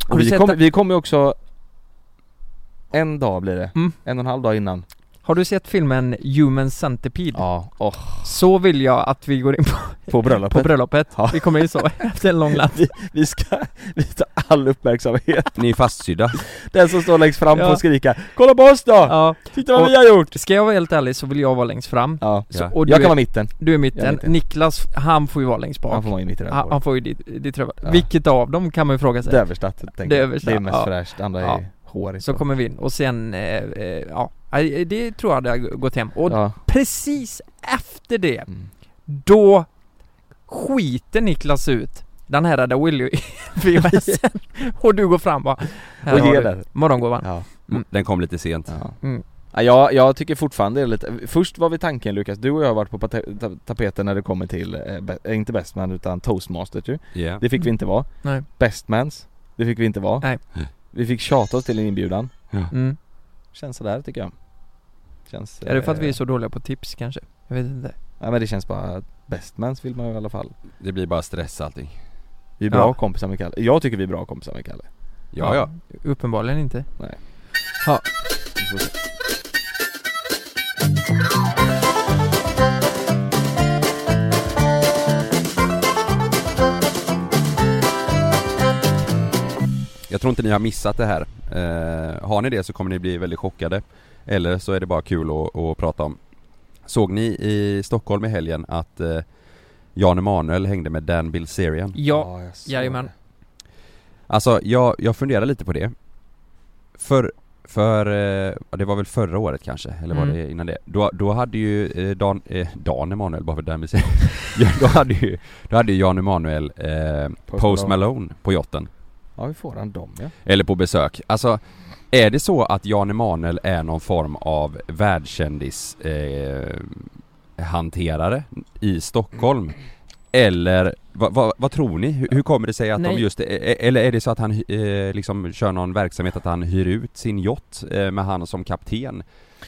[SPEAKER 3] Har
[SPEAKER 4] Och
[SPEAKER 3] du
[SPEAKER 4] vi,
[SPEAKER 3] sett
[SPEAKER 4] kommer,
[SPEAKER 3] att-
[SPEAKER 4] vi kommer ju också En dag blir det,
[SPEAKER 3] Mm.
[SPEAKER 4] en och en halv dag innan
[SPEAKER 3] Har du sett filmen Human Centipede?
[SPEAKER 4] Ja, och
[SPEAKER 3] Så vill jag att vi går in på,
[SPEAKER 4] på bröllopet
[SPEAKER 3] på bröllopet
[SPEAKER 4] *laughs* Ja.
[SPEAKER 3] Vi kommer in
[SPEAKER 4] *laughs*
[SPEAKER 3] så efter en lång natt
[SPEAKER 4] vi, vi ska, *laughs* vi tar all uppmärksamhet
[SPEAKER 2] Ni är fastsydda.
[SPEAKER 4] Den som står längst fram
[SPEAKER 3] Ja.
[SPEAKER 4] får skrika 'Kolla på oss då!
[SPEAKER 3] Ja,
[SPEAKER 4] Titta vad
[SPEAKER 3] Och-
[SPEAKER 4] vi har gjort!'
[SPEAKER 3] ska jag vara helt ärlig så vill jag vara längst fram
[SPEAKER 4] Ja,
[SPEAKER 3] så,
[SPEAKER 2] Ja.
[SPEAKER 3] och du,
[SPEAKER 4] jag kan vara
[SPEAKER 3] är,
[SPEAKER 4] mitten,
[SPEAKER 3] du är
[SPEAKER 4] jag är
[SPEAKER 3] mitten,
[SPEAKER 4] mitten.
[SPEAKER 3] Niklas han får ju vara längst
[SPEAKER 4] han
[SPEAKER 3] bak Ah,
[SPEAKER 4] får vara i mitten av
[SPEAKER 3] Han,
[SPEAKER 4] bordet.
[SPEAKER 3] han får ju ditt, ditt röva.
[SPEAKER 4] Ja.
[SPEAKER 3] Vilket av dem kan man ju fråga sig
[SPEAKER 4] Det översta, tänker jag.
[SPEAKER 3] Det översta,
[SPEAKER 4] det är mest
[SPEAKER 3] ja.
[SPEAKER 4] fräscht, det andra
[SPEAKER 3] Ja.
[SPEAKER 4] är hårigt
[SPEAKER 3] Så kommer vi in och sen, eh, eh, ja Nej, Det tror jag hade jag gått hem och
[SPEAKER 4] ja.
[SPEAKER 3] precis efter det
[SPEAKER 4] Mm.
[SPEAKER 3] Då skiter Niklas ut den här Rädda Willy-VHSen
[SPEAKER 2] *laughs*
[SPEAKER 3] och du går fram bara här
[SPEAKER 4] Och
[SPEAKER 3] har
[SPEAKER 4] ger
[SPEAKER 3] du
[SPEAKER 4] den
[SPEAKER 3] Morgongåvan
[SPEAKER 4] ja.
[SPEAKER 2] Mm. Den kom lite sent.
[SPEAKER 4] Ja.
[SPEAKER 3] Mm.
[SPEAKER 4] Ja, jag, jag tycker fortfarande det är lite, först var vi tanken Lukas, du och jag har varit på pate- ta- tapeten när det kommer till, eh, be, eh, inte Bestman utan Toastmasters ju
[SPEAKER 2] Ja.
[SPEAKER 4] Det fick vi inte vara
[SPEAKER 3] Mm. Nej.
[SPEAKER 4] Bestmans, det fick vi inte vara
[SPEAKER 3] Nej.
[SPEAKER 4] Vi fick tjata oss till en inbjudan,
[SPEAKER 3] mm.
[SPEAKER 4] känns sådär tycker jag Känns
[SPEAKER 3] Är det för att vi är
[SPEAKER 4] eh,
[SPEAKER 3] så dåliga på tips kanske? Jag vet inte
[SPEAKER 4] Ja men det känns bara, Bestmans vill man ju i alla fall
[SPEAKER 2] Det blir bara stress allting.
[SPEAKER 4] Vi är bra
[SPEAKER 3] Ja.
[SPEAKER 4] kompisar med Kalle, jag tycker vi är bra kompisar med Kalle
[SPEAKER 2] Ja, ja.
[SPEAKER 3] Uppenbarligen inte
[SPEAKER 4] Nej.
[SPEAKER 3] Ja,
[SPEAKER 4] Vi får se.
[SPEAKER 2] Jag tror inte ni har missat det här. Eh, har ni det så kommer ni bli väldigt chockade. Eller så är det bara kul att, att prata om. Såg ni i Stockholm i helgen att eh, Jan Emanuel hängde med Dan Bilzerian?
[SPEAKER 3] ja
[SPEAKER 4] jag såg
[SPEAKER 3] jajamän.
[SPEAKER 4] det.
[SPEAKER 2] Alltså jag, jag funderar lite på det. För, för, eh, ja, det var väl förra året kanske, eller var
[SPEAKER 3] Mm.
[SPEAKER 2] det innan det? Då, då hade ju eh, Dan, eh, Dan Emanuel, bara för Dan Bilzerian. *laughs* Ja, då hade ju, då hade ju Jan Emanuel eh,
[SPEAKER 4] Post
[SPEAKER 2] Post
[SPEAKER 4] Malone.
[SPEAKER 2] Malone på yachten.
[SPEAKER 4] Ja vi får han dem ja
[SPEAKER 2] Eller på besök. Alltså, är det så att Jan Emanuel är någon form av världskändis eh, hanterare i Stockholm? Eller vad, vad, vad tror ni? Hur, hur kommer det sig att de
[SPEAKER 3] Nej.
[SPEAKER 2] just, eh, eller är det så att han eh, liksom kör någon verksamhet att han hyr ut sin yacht eh, med han som kapten?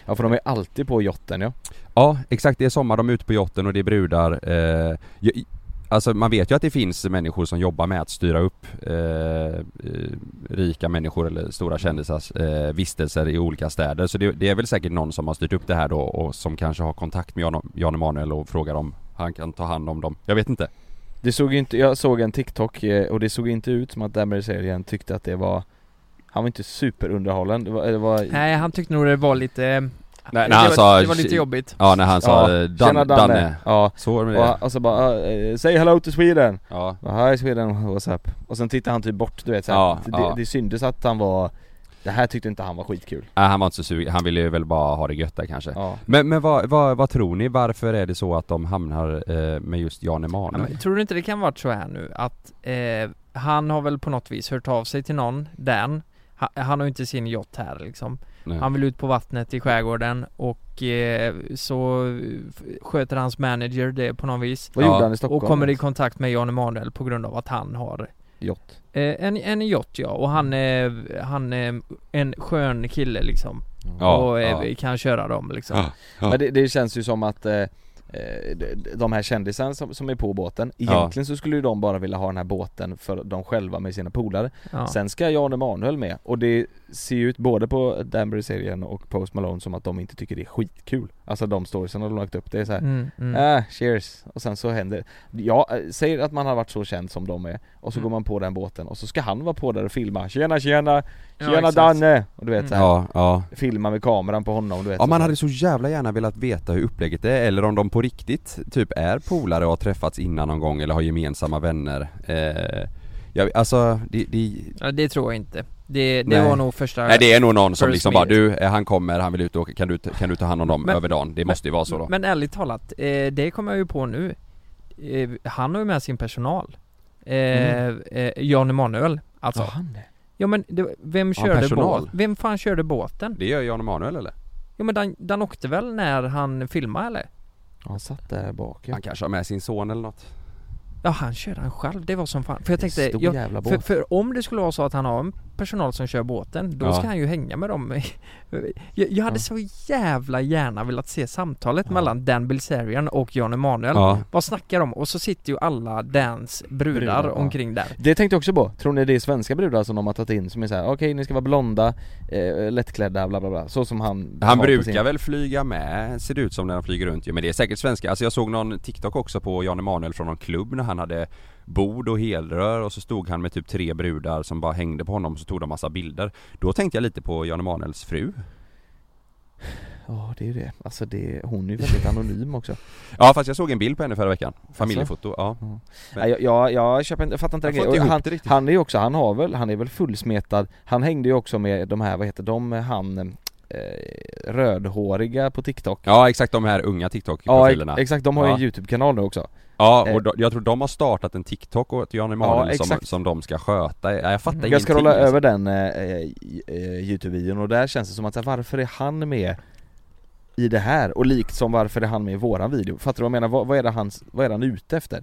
[SPEAKER 4] Ja för de är alltid på jotten ja
[SPEAKER 2] Ja, exakt. Det är sommar, de är ute på yachten och det är brudar. Eh, jag, alltså man vet ju att det finns människor som jobbar med att styra upp eh, eh, rika människor eller stora kändisars eh, vistelser i olika städer. Så det, det är väl säkert någon som har styrt upp det här då och som kanske har kontakt med Jan, Jan Emanuel och frågar om han kan ta hand om dem. Jag vet inte.
[SPEAKER 4] Det såg ju inte, jag såg en TikTok eh, och det såg inte ut som att Dammer serien tyckte att det var Han var inte superunderhållen, det var, det var
[SPEAKER 3] Nej han tyckte nog det var lite eh,
[SPEAKER 2] nej,
[SPEAKER 3] det,
[SPEAKER 2] han
[SPEAKER 3] var,
[SPEAKER 2] sa-
[SPEAKER 3] det var lite jobbigt
[SPEAKER 2] Ja, när han sa
[SPEAKER 4] Ja,
[SPEAKER 2] eh, Dan,
[SPEAKER 4] "Tjena,
[SPEAKER 2] Danne.
[SPEAKER 4] Ja,
[SPEAKER 2] Så var det med det.
[SPEAKER 4] och, och så bara eh, 'Say hello to Sweden'
[SPEAKER 2] Ja.
[SPEAKER 4] bara, 'Hi Sweden, what's up?' Och sen tittade han typ bort du vet såhär,
[SPEAKER 2] Ja,
[SPEAKER 4] det,
[SPEAKER 2] ja.
[SPEAKER 4] det syndes att han var Det här tyckte inte han var skitkul
[SPEAKER 2] Nej, han var inte så sugen. Han ville ju väl bara ha det gött där kanske.
[SPEAKER 4] Ja,
[SPEAKER 2] Men, men vad, vad, vad tror ni? Varför är det så att de hamnar eh, med just Jan
[SPEAKER 3] Ja,
[SPEAKER 2] Emanuel?
[SPEAKER 3] men, tror du inte det kan varit så här nu att eh, han har väl på något vis hört av sig till någon, Dan han, han har ju inte sin yacht här liksom
[SPEAKER 2] Nej.
[SPEAKER 3] Han vill ut på vattnet i skärgården och eh, så eh, sköter hans manager det på något vis
[SPEAKER 4] vad
[SPEAKER 2] Ja.
[SPEAKER 4] gjorde han i Stockholm?
[SPEAKER 3] Och kommer
[SPEAKER 2] alltså.
[SPEAKER 3] i kontakt med Jan Emanuel på grund av att han har
[SPEAKER 4] Jott
[SPEAKER 3] eh, en, en yacht ja, och
[SPEAKER 2] Mm.
[SPEAKER 3] han är, han är en skön kille liksom
[SPEAKER 2] Ja,
[SPEAKER 3] Och eh,
[SPEAKER 2] ja.
[SPEAKER 3] kan köra dem liksom
[SPEAKER 2] Ja. Ja.
[SPEAKER 4] Men det, det känns ju som att eh, eh, de- de här kändisarna som, som är på båten,
[SPEAKER 2] Ja.
[SPEAKER 4] egentligen så skulle ju de bara vilja ha den här båten för de själva med sina polare
[SPEAKER 3] ja.
[SPEAKER 4] Sen ska Jan Emanuel med och det ser ju ut både på Danbury serien och Post Malone som att de inte tycker det är skitkul Alltså de storiesen de har lagt upp, det är så här.
[SPEAKER 3] mm, mm.
[SPEAKER 2] eh,
[SPEAKER 4] Ah, cheers! Och sen så händer Ja, eh, säger att man har varit så känd som de är Och så
[SPEAKER 3] Mm.
[SPEAKER 4] går man på den båten och så ska han vara på där och filma Tjena tjena!
[SPEAKER 3] Ja,
[SPEAKER 4] Tjena
[SPEAKER 3] exakt.
[SPEAKER 4] Danne! Och du vet
[SPEAKER 3] Mm.
[SPEAKER 4] så här,
[SPEAKER 2] Ja, ja.
[SPEAKER 4] filma med kameran på honom du vet
[SPEAKER 2] ja,
[SPEAKER 4] så
[SPEAKER 2] man
[SPEAKER 4] här.
[SPEAKER 2] hade så jävla gärna velat veta hur upplägget är eller om de på riktigt typ är polare och har träffats innan någon gång eller har gemensamma vänner. Eh, Jag, alltså, det, det,
[SPEAKER 3] Ja, det tror jag inte. Det, det
[SPEAKER 2] Nej.
[SPEAKER 3] var nog första...
[SPEAKER 2] nej, det är nog någon som
[SPEAKER 3] First
[SPEAKER 2] liksom bara
[SPEAKER 3] meet.
[SPEAKER 2] du, eh, han kommer, han vill ut och åka, kan du, ta- kan du ta hand om dem
[SPEAKER 3] Men-
[SPEAKER 2] över dagen? Det måste ju vara så då.
[SPEAKER 3] Men ärligt talat, eh, det kommer jag ju på nu. Eh, han har ju med sin personal. Eh,
[SPEAKER 2] Mm.
[SPEAKER 3] eh, Jan Emanuel, alltså.
[SPEAKER 4] han det?
[SPEAKER 3] Ja men det, vem
[SPEAKER 2] Ja,
[SPEAKER 3] körde
[SPEAKER 2] personal.
[SPEAKER 3] båten? Vem fan körde båten?
[SPEAKER 2] Det gör Jan Emanuel eller?
[SPEAKER 3] Ja men den, den åkte väl när han filmade eller?
[SPEAKER 4] Han satt där bak ja.
[SPEAKER 2] Han kanske har med sin son eller något.
[SPEAKER 3] Ja han körde han själv, det var som fan. För jag
[SPEAKER 4] Det är en
[SPEAKER 3] tänkte,
[SPEAKER 4] stor
[SPEAKER 3] jag,
[SPEAKER 4] jävla
[SPEAKER 3] för,
[SPEAKER 4] båt.
[SPEAKER 3] för om det skulle vara så att han har en personal som kör båten, då
[SPEAKER 2] Ja.
[SPEAKER 3] ska han ju hänga med dem. *laughs* jag, jag hade
[SPEAKER 4] Ja.
[SPEAKER 3] så jävla gärna velat se samtalet mellan Dan Bilzerian och Jan Emanuel.
[SPEAKER 2] Ja.
[SPEAKER 3] Vad snackar de? Och så sitter ju alla Dans brudar,
[SPEAKER 4] Brudar, ja.
[SPEAKER 3] omkring där.
[SPEAKER 4] Det tänkte jag också på, tror ni det är svenska brudar som de har tagit in som är såhär, okej ni ska vara blonda, eh, lättklädda, bla bla bla, så som han
[SPEAKER 2] Han
[SPEAKER 4] har på
[SPEAKER 2] brukar
[SPEAKER 4] sin-
[SPEAKER 2] väl flyga med, ser det ut som när han flyger runt ju. Men det är säkert svenska. Alltså jag såg någon TikTok också på Jan Emanuel från någon klubb när han hade bord och helrör och så stod han med typ tre brudar som bara hängde på honom och så tog de massa bilder. Då tänkte jag lite på Jan Emanuels fru.
[SPEAKER 4] Ja det är ju det, alltså det, hon är ju väldigt anonym
[SPEAKER 2] *laughs*
[SPEAKER 4] också
[SPEAKER 2] Ja fast jag såg en bild på henne förra veckan. Familjefoto, ja. Men-
[SPEAKER 4] Nej, jag, jag, jag köper inte, jag fattar inte
[SPEAKER 2] Jag
[SPEAKER 4] den
[SPEAKER 2] får
[SPEAKER 4] grejen.
[SPEAKER 2] inte
[SPEAKER 4] Och
[SPEAKER 2] ihop
[SPEAKER 4] han,
[SPEAKER 2] det riktigt.
[SPEAKER 4] han är ju också, han har väl, han är väl fullsmetad Han hängde ju också med de här, vad heter de, han eh, rödhåriga på TikTok
[SPEAKER 2] Ja exakt de här unga
[SPEAKER 4] Ja
[SPEAKER 2] TikTok-profilerna.
[SPEAKER 4] ex- exakt, de har ju
[SPEAKER 2] Ja.
[SPEAKER 4] en YouTube-kanal nu också
[SPEAKER 2] Ja, och då, jag tror de har startat en TikTok åt Jan Emanuel
[SPEAKER 4] Ja,
[SPEAKER 2] som,
[SPEAKER 4] exakt.
[SPEAKER 2] som de ska sköta. Ja, Jag fattar
[SPEAKER 3] Jag
[SPEAKER 2] ingenting.
[SPEAKER 4] Jag scrollade
[SPEAKER 2] alltså.
[SPEAKER 4] över den eh, eh, eh, Youtube-videon och där känns det som att så här, varför är han med i det här? Och likt som varför är han med i våran video? Fattar du vad jag menar? Vad, vad, är, det han, vad är han ute efter?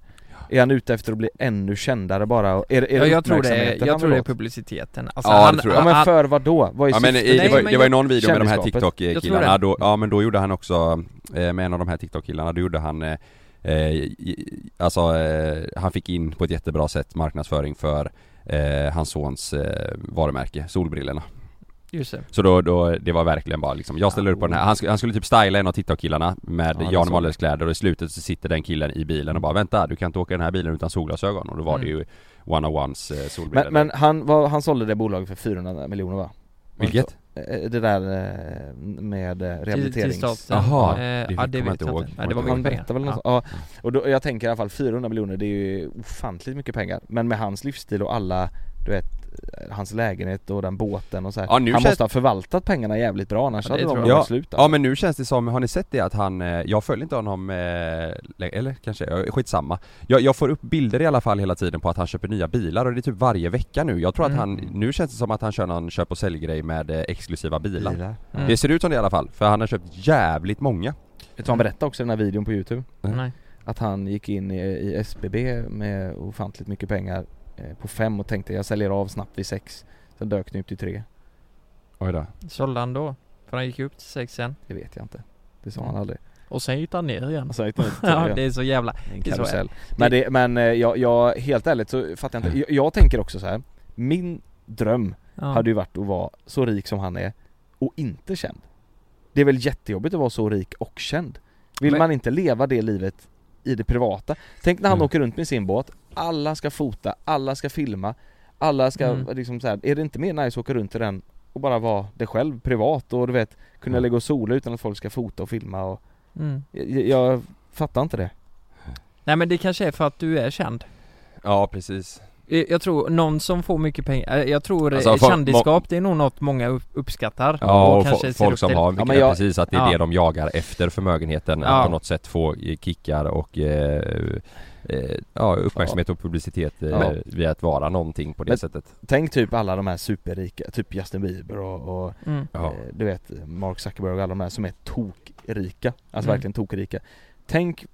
[SPEAKER 4] Är han ute efter att bli ännu kändare bara? Och Är, det- är
[SPEAKER 3] Ja,
[SPEAKER 4] det
[SPEAKER 3] jag tror det,
[SPEAKER 4] uppmärksamheten
[SPEAKER 3] är-
[SPEAKER 4] han
[SPEAKER 3] jag tror
[SPEAKER 4] vill
[SPEAKER 3] det är
[SPEAKER 4] åt?
[SPEAKER 3] publiciteten. Alltså,
[SPEAKER 2] Ja, det tror jag.
[SPEAKER 4] Ja men för vad då? Vad är
[SPEAKER 2] Ja men i,
[SPEAKER 4] syftet?
[SPEAKER 2] det,
[SPEAKER 3] Nej,
[SPEAKER 2] var,
[SPEAKER 3] men
[SPEAKER 2] det var ju någon video med de här
[SPEAKER 4] Kändisskapet.
[SPEAKER 2] TikTok-killarna,
[SPEAKER 3] Jag
[SPEAKER 2] då, ja men då gjorde han också, eh, med en av de här TikTok-killarna, då gjorde han eh, eh, i- Alltså eh, han fick in på ett jättebra sätt marknadsföring för eh, hans sons eh, varumärke, solbrillorna.
[SPEAKER 3] Just det.
[SPEAKER 2] Så då, då, det var verkligen bara liksom, jag ställer upp på den här, han, sk- han skulle typ styla en av TikTok-killarna med
[SPEAKER 4] Ja, det
[SPEAKER 2] Jan
[SPEAKER 4] såg
[SPEAKER 2] Mahlers kläder och i slutet så sitter den killen i bilen och bara vänta, du kan inte åka den här bilen utan solglasögon och då var det ju one of ones eh, solbrillor.
[SPEAKER 4] men, men han, var, han sålde det bolaget för 400 miljoner va?
[SPEAKER 2] Vilket?
[SPEAKER 4] Eh, Det där eh, med eh,
[SPEAKER 3] Till, till
[SPEAKER 4] rehabiliterings...
[SPEAKER 3] staten.
[SPEAKER 2] Jaha,
[SPEAKER 3] Eh,
[SPEAKER 2] det
[SPEAKER 3] ja, det
[SPEAKER 2] kommer jag
[SPEAKER 3] vet
[SPEAKER 2] inte
[SPEAKER 3] jag
[SPEAKER 2] ihåg.
[SPEAKER 3] inte. Nej, det var
[SPEAKER 2] Han
[SPEAKER 3] mycket
[SPEAKER 4] Han
[SPEAKER 3] pengar.
[SPEAKER 4] berättar väl
[SPEAKER 3] Ja.
[SPEAKER 4] något, ja. Och då, jag tänker i alla fall 400 miljoner det är ju ofantligt mycket pengar Men med hans livsstil och alla, du vet eh, Hans lägenhet och den båten och så här.
[SPEAKER 2] Ja, nu
[SPEAKER 4] Han
[SPEAKER 2] känns-
[SPEAKER 4] måste ha förvaltat pengarna jävligt bra annars
[SPEAKER 3] Ja, det
[SPEAKER 4] hade de
[SPEAKER 3] tror
[SPEAKER 2] jag.
[SPEAKER 4] ja. slut
[SPEAKER 2] Ja men nu känns det som, har ni sett det att han, eh, jag följer inte honom, eh, lä- eller kanske, jag- skitsamma jag, jag får upp bilder i alla fall hela tiden på att han köper nya bilar och det är typ varje vecka nu Jag tror att
[SPEAKER 3] Mm.
[SPEAKER 2] han, nu känns det som att han kör någon köp och säljgrej med eh, exklusiva bilar
[SPEAKER 4] Bilar.
[SPEAKER 3] Mm.
[SPEAKER 2] Det ser ut som det i alla fall, för han har köpt jävligt många
[SPEAKER 4] Vet du vad han berättade också i den här videon på youtube?
[SPEAKER 3] Nej.
[SPEAKER 4] Att han gick in i, i SBB med ofantligt mycket pengar eh, På fem och tänkte jag säljer av snabbt vid sex Sen dök den upp till tre
[SPEAKER 2] Oj då.
[SPEAKER 3] Sålde han då? För han gick upp till sex sen.
[SPEAKER 4] Det vet jag inte Det sa han aldrig
[SPEAKER 3] Och sen gick han ner igen.
[SPEAKER 4] Alltså, jag *laughs* gick nog inte
[SPEAKER 3] *laughs*
[SPEAKER 4] till
[SPEAKER 3] Ja,
[SPEAKER 4] det.
[SPEAKER 3] det är så jävla...
[SPEAKER 4] En
[SPEAKER 3] Det är så
[SPEAKER 4] karusell. Men, det, men eh, jag, jag, helt ärligt så fattar jag inte. Jag, jag tänker också så här. min dröm
[SPEAKER 3] Ja.
[SPEAKER 4] hade ju varit att vara så rik som han är och inte känd. Det är väl jättejobbigt att vara så rik och känd? Vill
[SPEAKER 3] Men-
[SPEAKER 4] man inte leva det livet i det privata? Tänk när han
[SPEAKER 2] Mm.
[SPEAKER 4] åker runt med sin båt, alla ska fota, alla ska filma, alla ska
[SPEAKER 3] Mm.
[SPEAKER 4] liksom så här. är det inte mer nice att åka runt i den och bara vara det själv privat och du vet kunna
[SPEAKER 2] Mm.
[SPEAKER 4] lägga och sola utan att folk ska fota och filma och
[SPEAKER 3] Mm.
[SPEAKER 4] jag, jag fattar inte det.
[SPEAKER 3] Nej men det kanske är för att du är känd.
[SPEAKER 2] Ja precis
[SPEAKER 3] Eh, Jag tror någon som får mycket pengar, eh, jag tror eh,
[SPEAKER 2] Alltså, folk-
[SPEAKER 3] kändisskap det är nog något många upp- uppskattar.
[SPEAKER 2] Ja och,
[SPEAKER 3] kanske
[SPEAKER 2] fo-
[SPEAKER 3] ser
[SPEAKER 2] folk
[SPEAKER 3] upp
[SPEAKER 2] som
[SPEAKER 3] till.
[SPEAKER 2] har, vilket
[SPEAKER 4] men
[SPEAKER 2] är
[SPEAKER 4] jag-
[SPEAKER 2] precis att det är
[SPEAKER 3] ja.
[SPEAKER 2] det de jagar efter förmögenheten,
[SPEAKER 3] Ja.
[SPEAKER 2] att på något sätt få eh, kickar och eh, eh, ja, uppmärksamhet och publicitet eh,
[SPEAKER 4] Ja.
[SPEAKER 2] via att vara någonting på det
[SPEAKER 4] Men-
[SPEAKER 2] sättet
[SPEAKER 4] Tänk typ alla de här superrika, typ Justin Bieber och, och
[SPEAKER 3] Mm.
[SPEAKER 2] Ja.
[SPEAKER 4] eh, du vet Mark Zuckerberg och alla de här som är tokrika Alltså
[SPEAKER 3] Mm.
[SPEAKER 4] verkligen tokrika Tänk,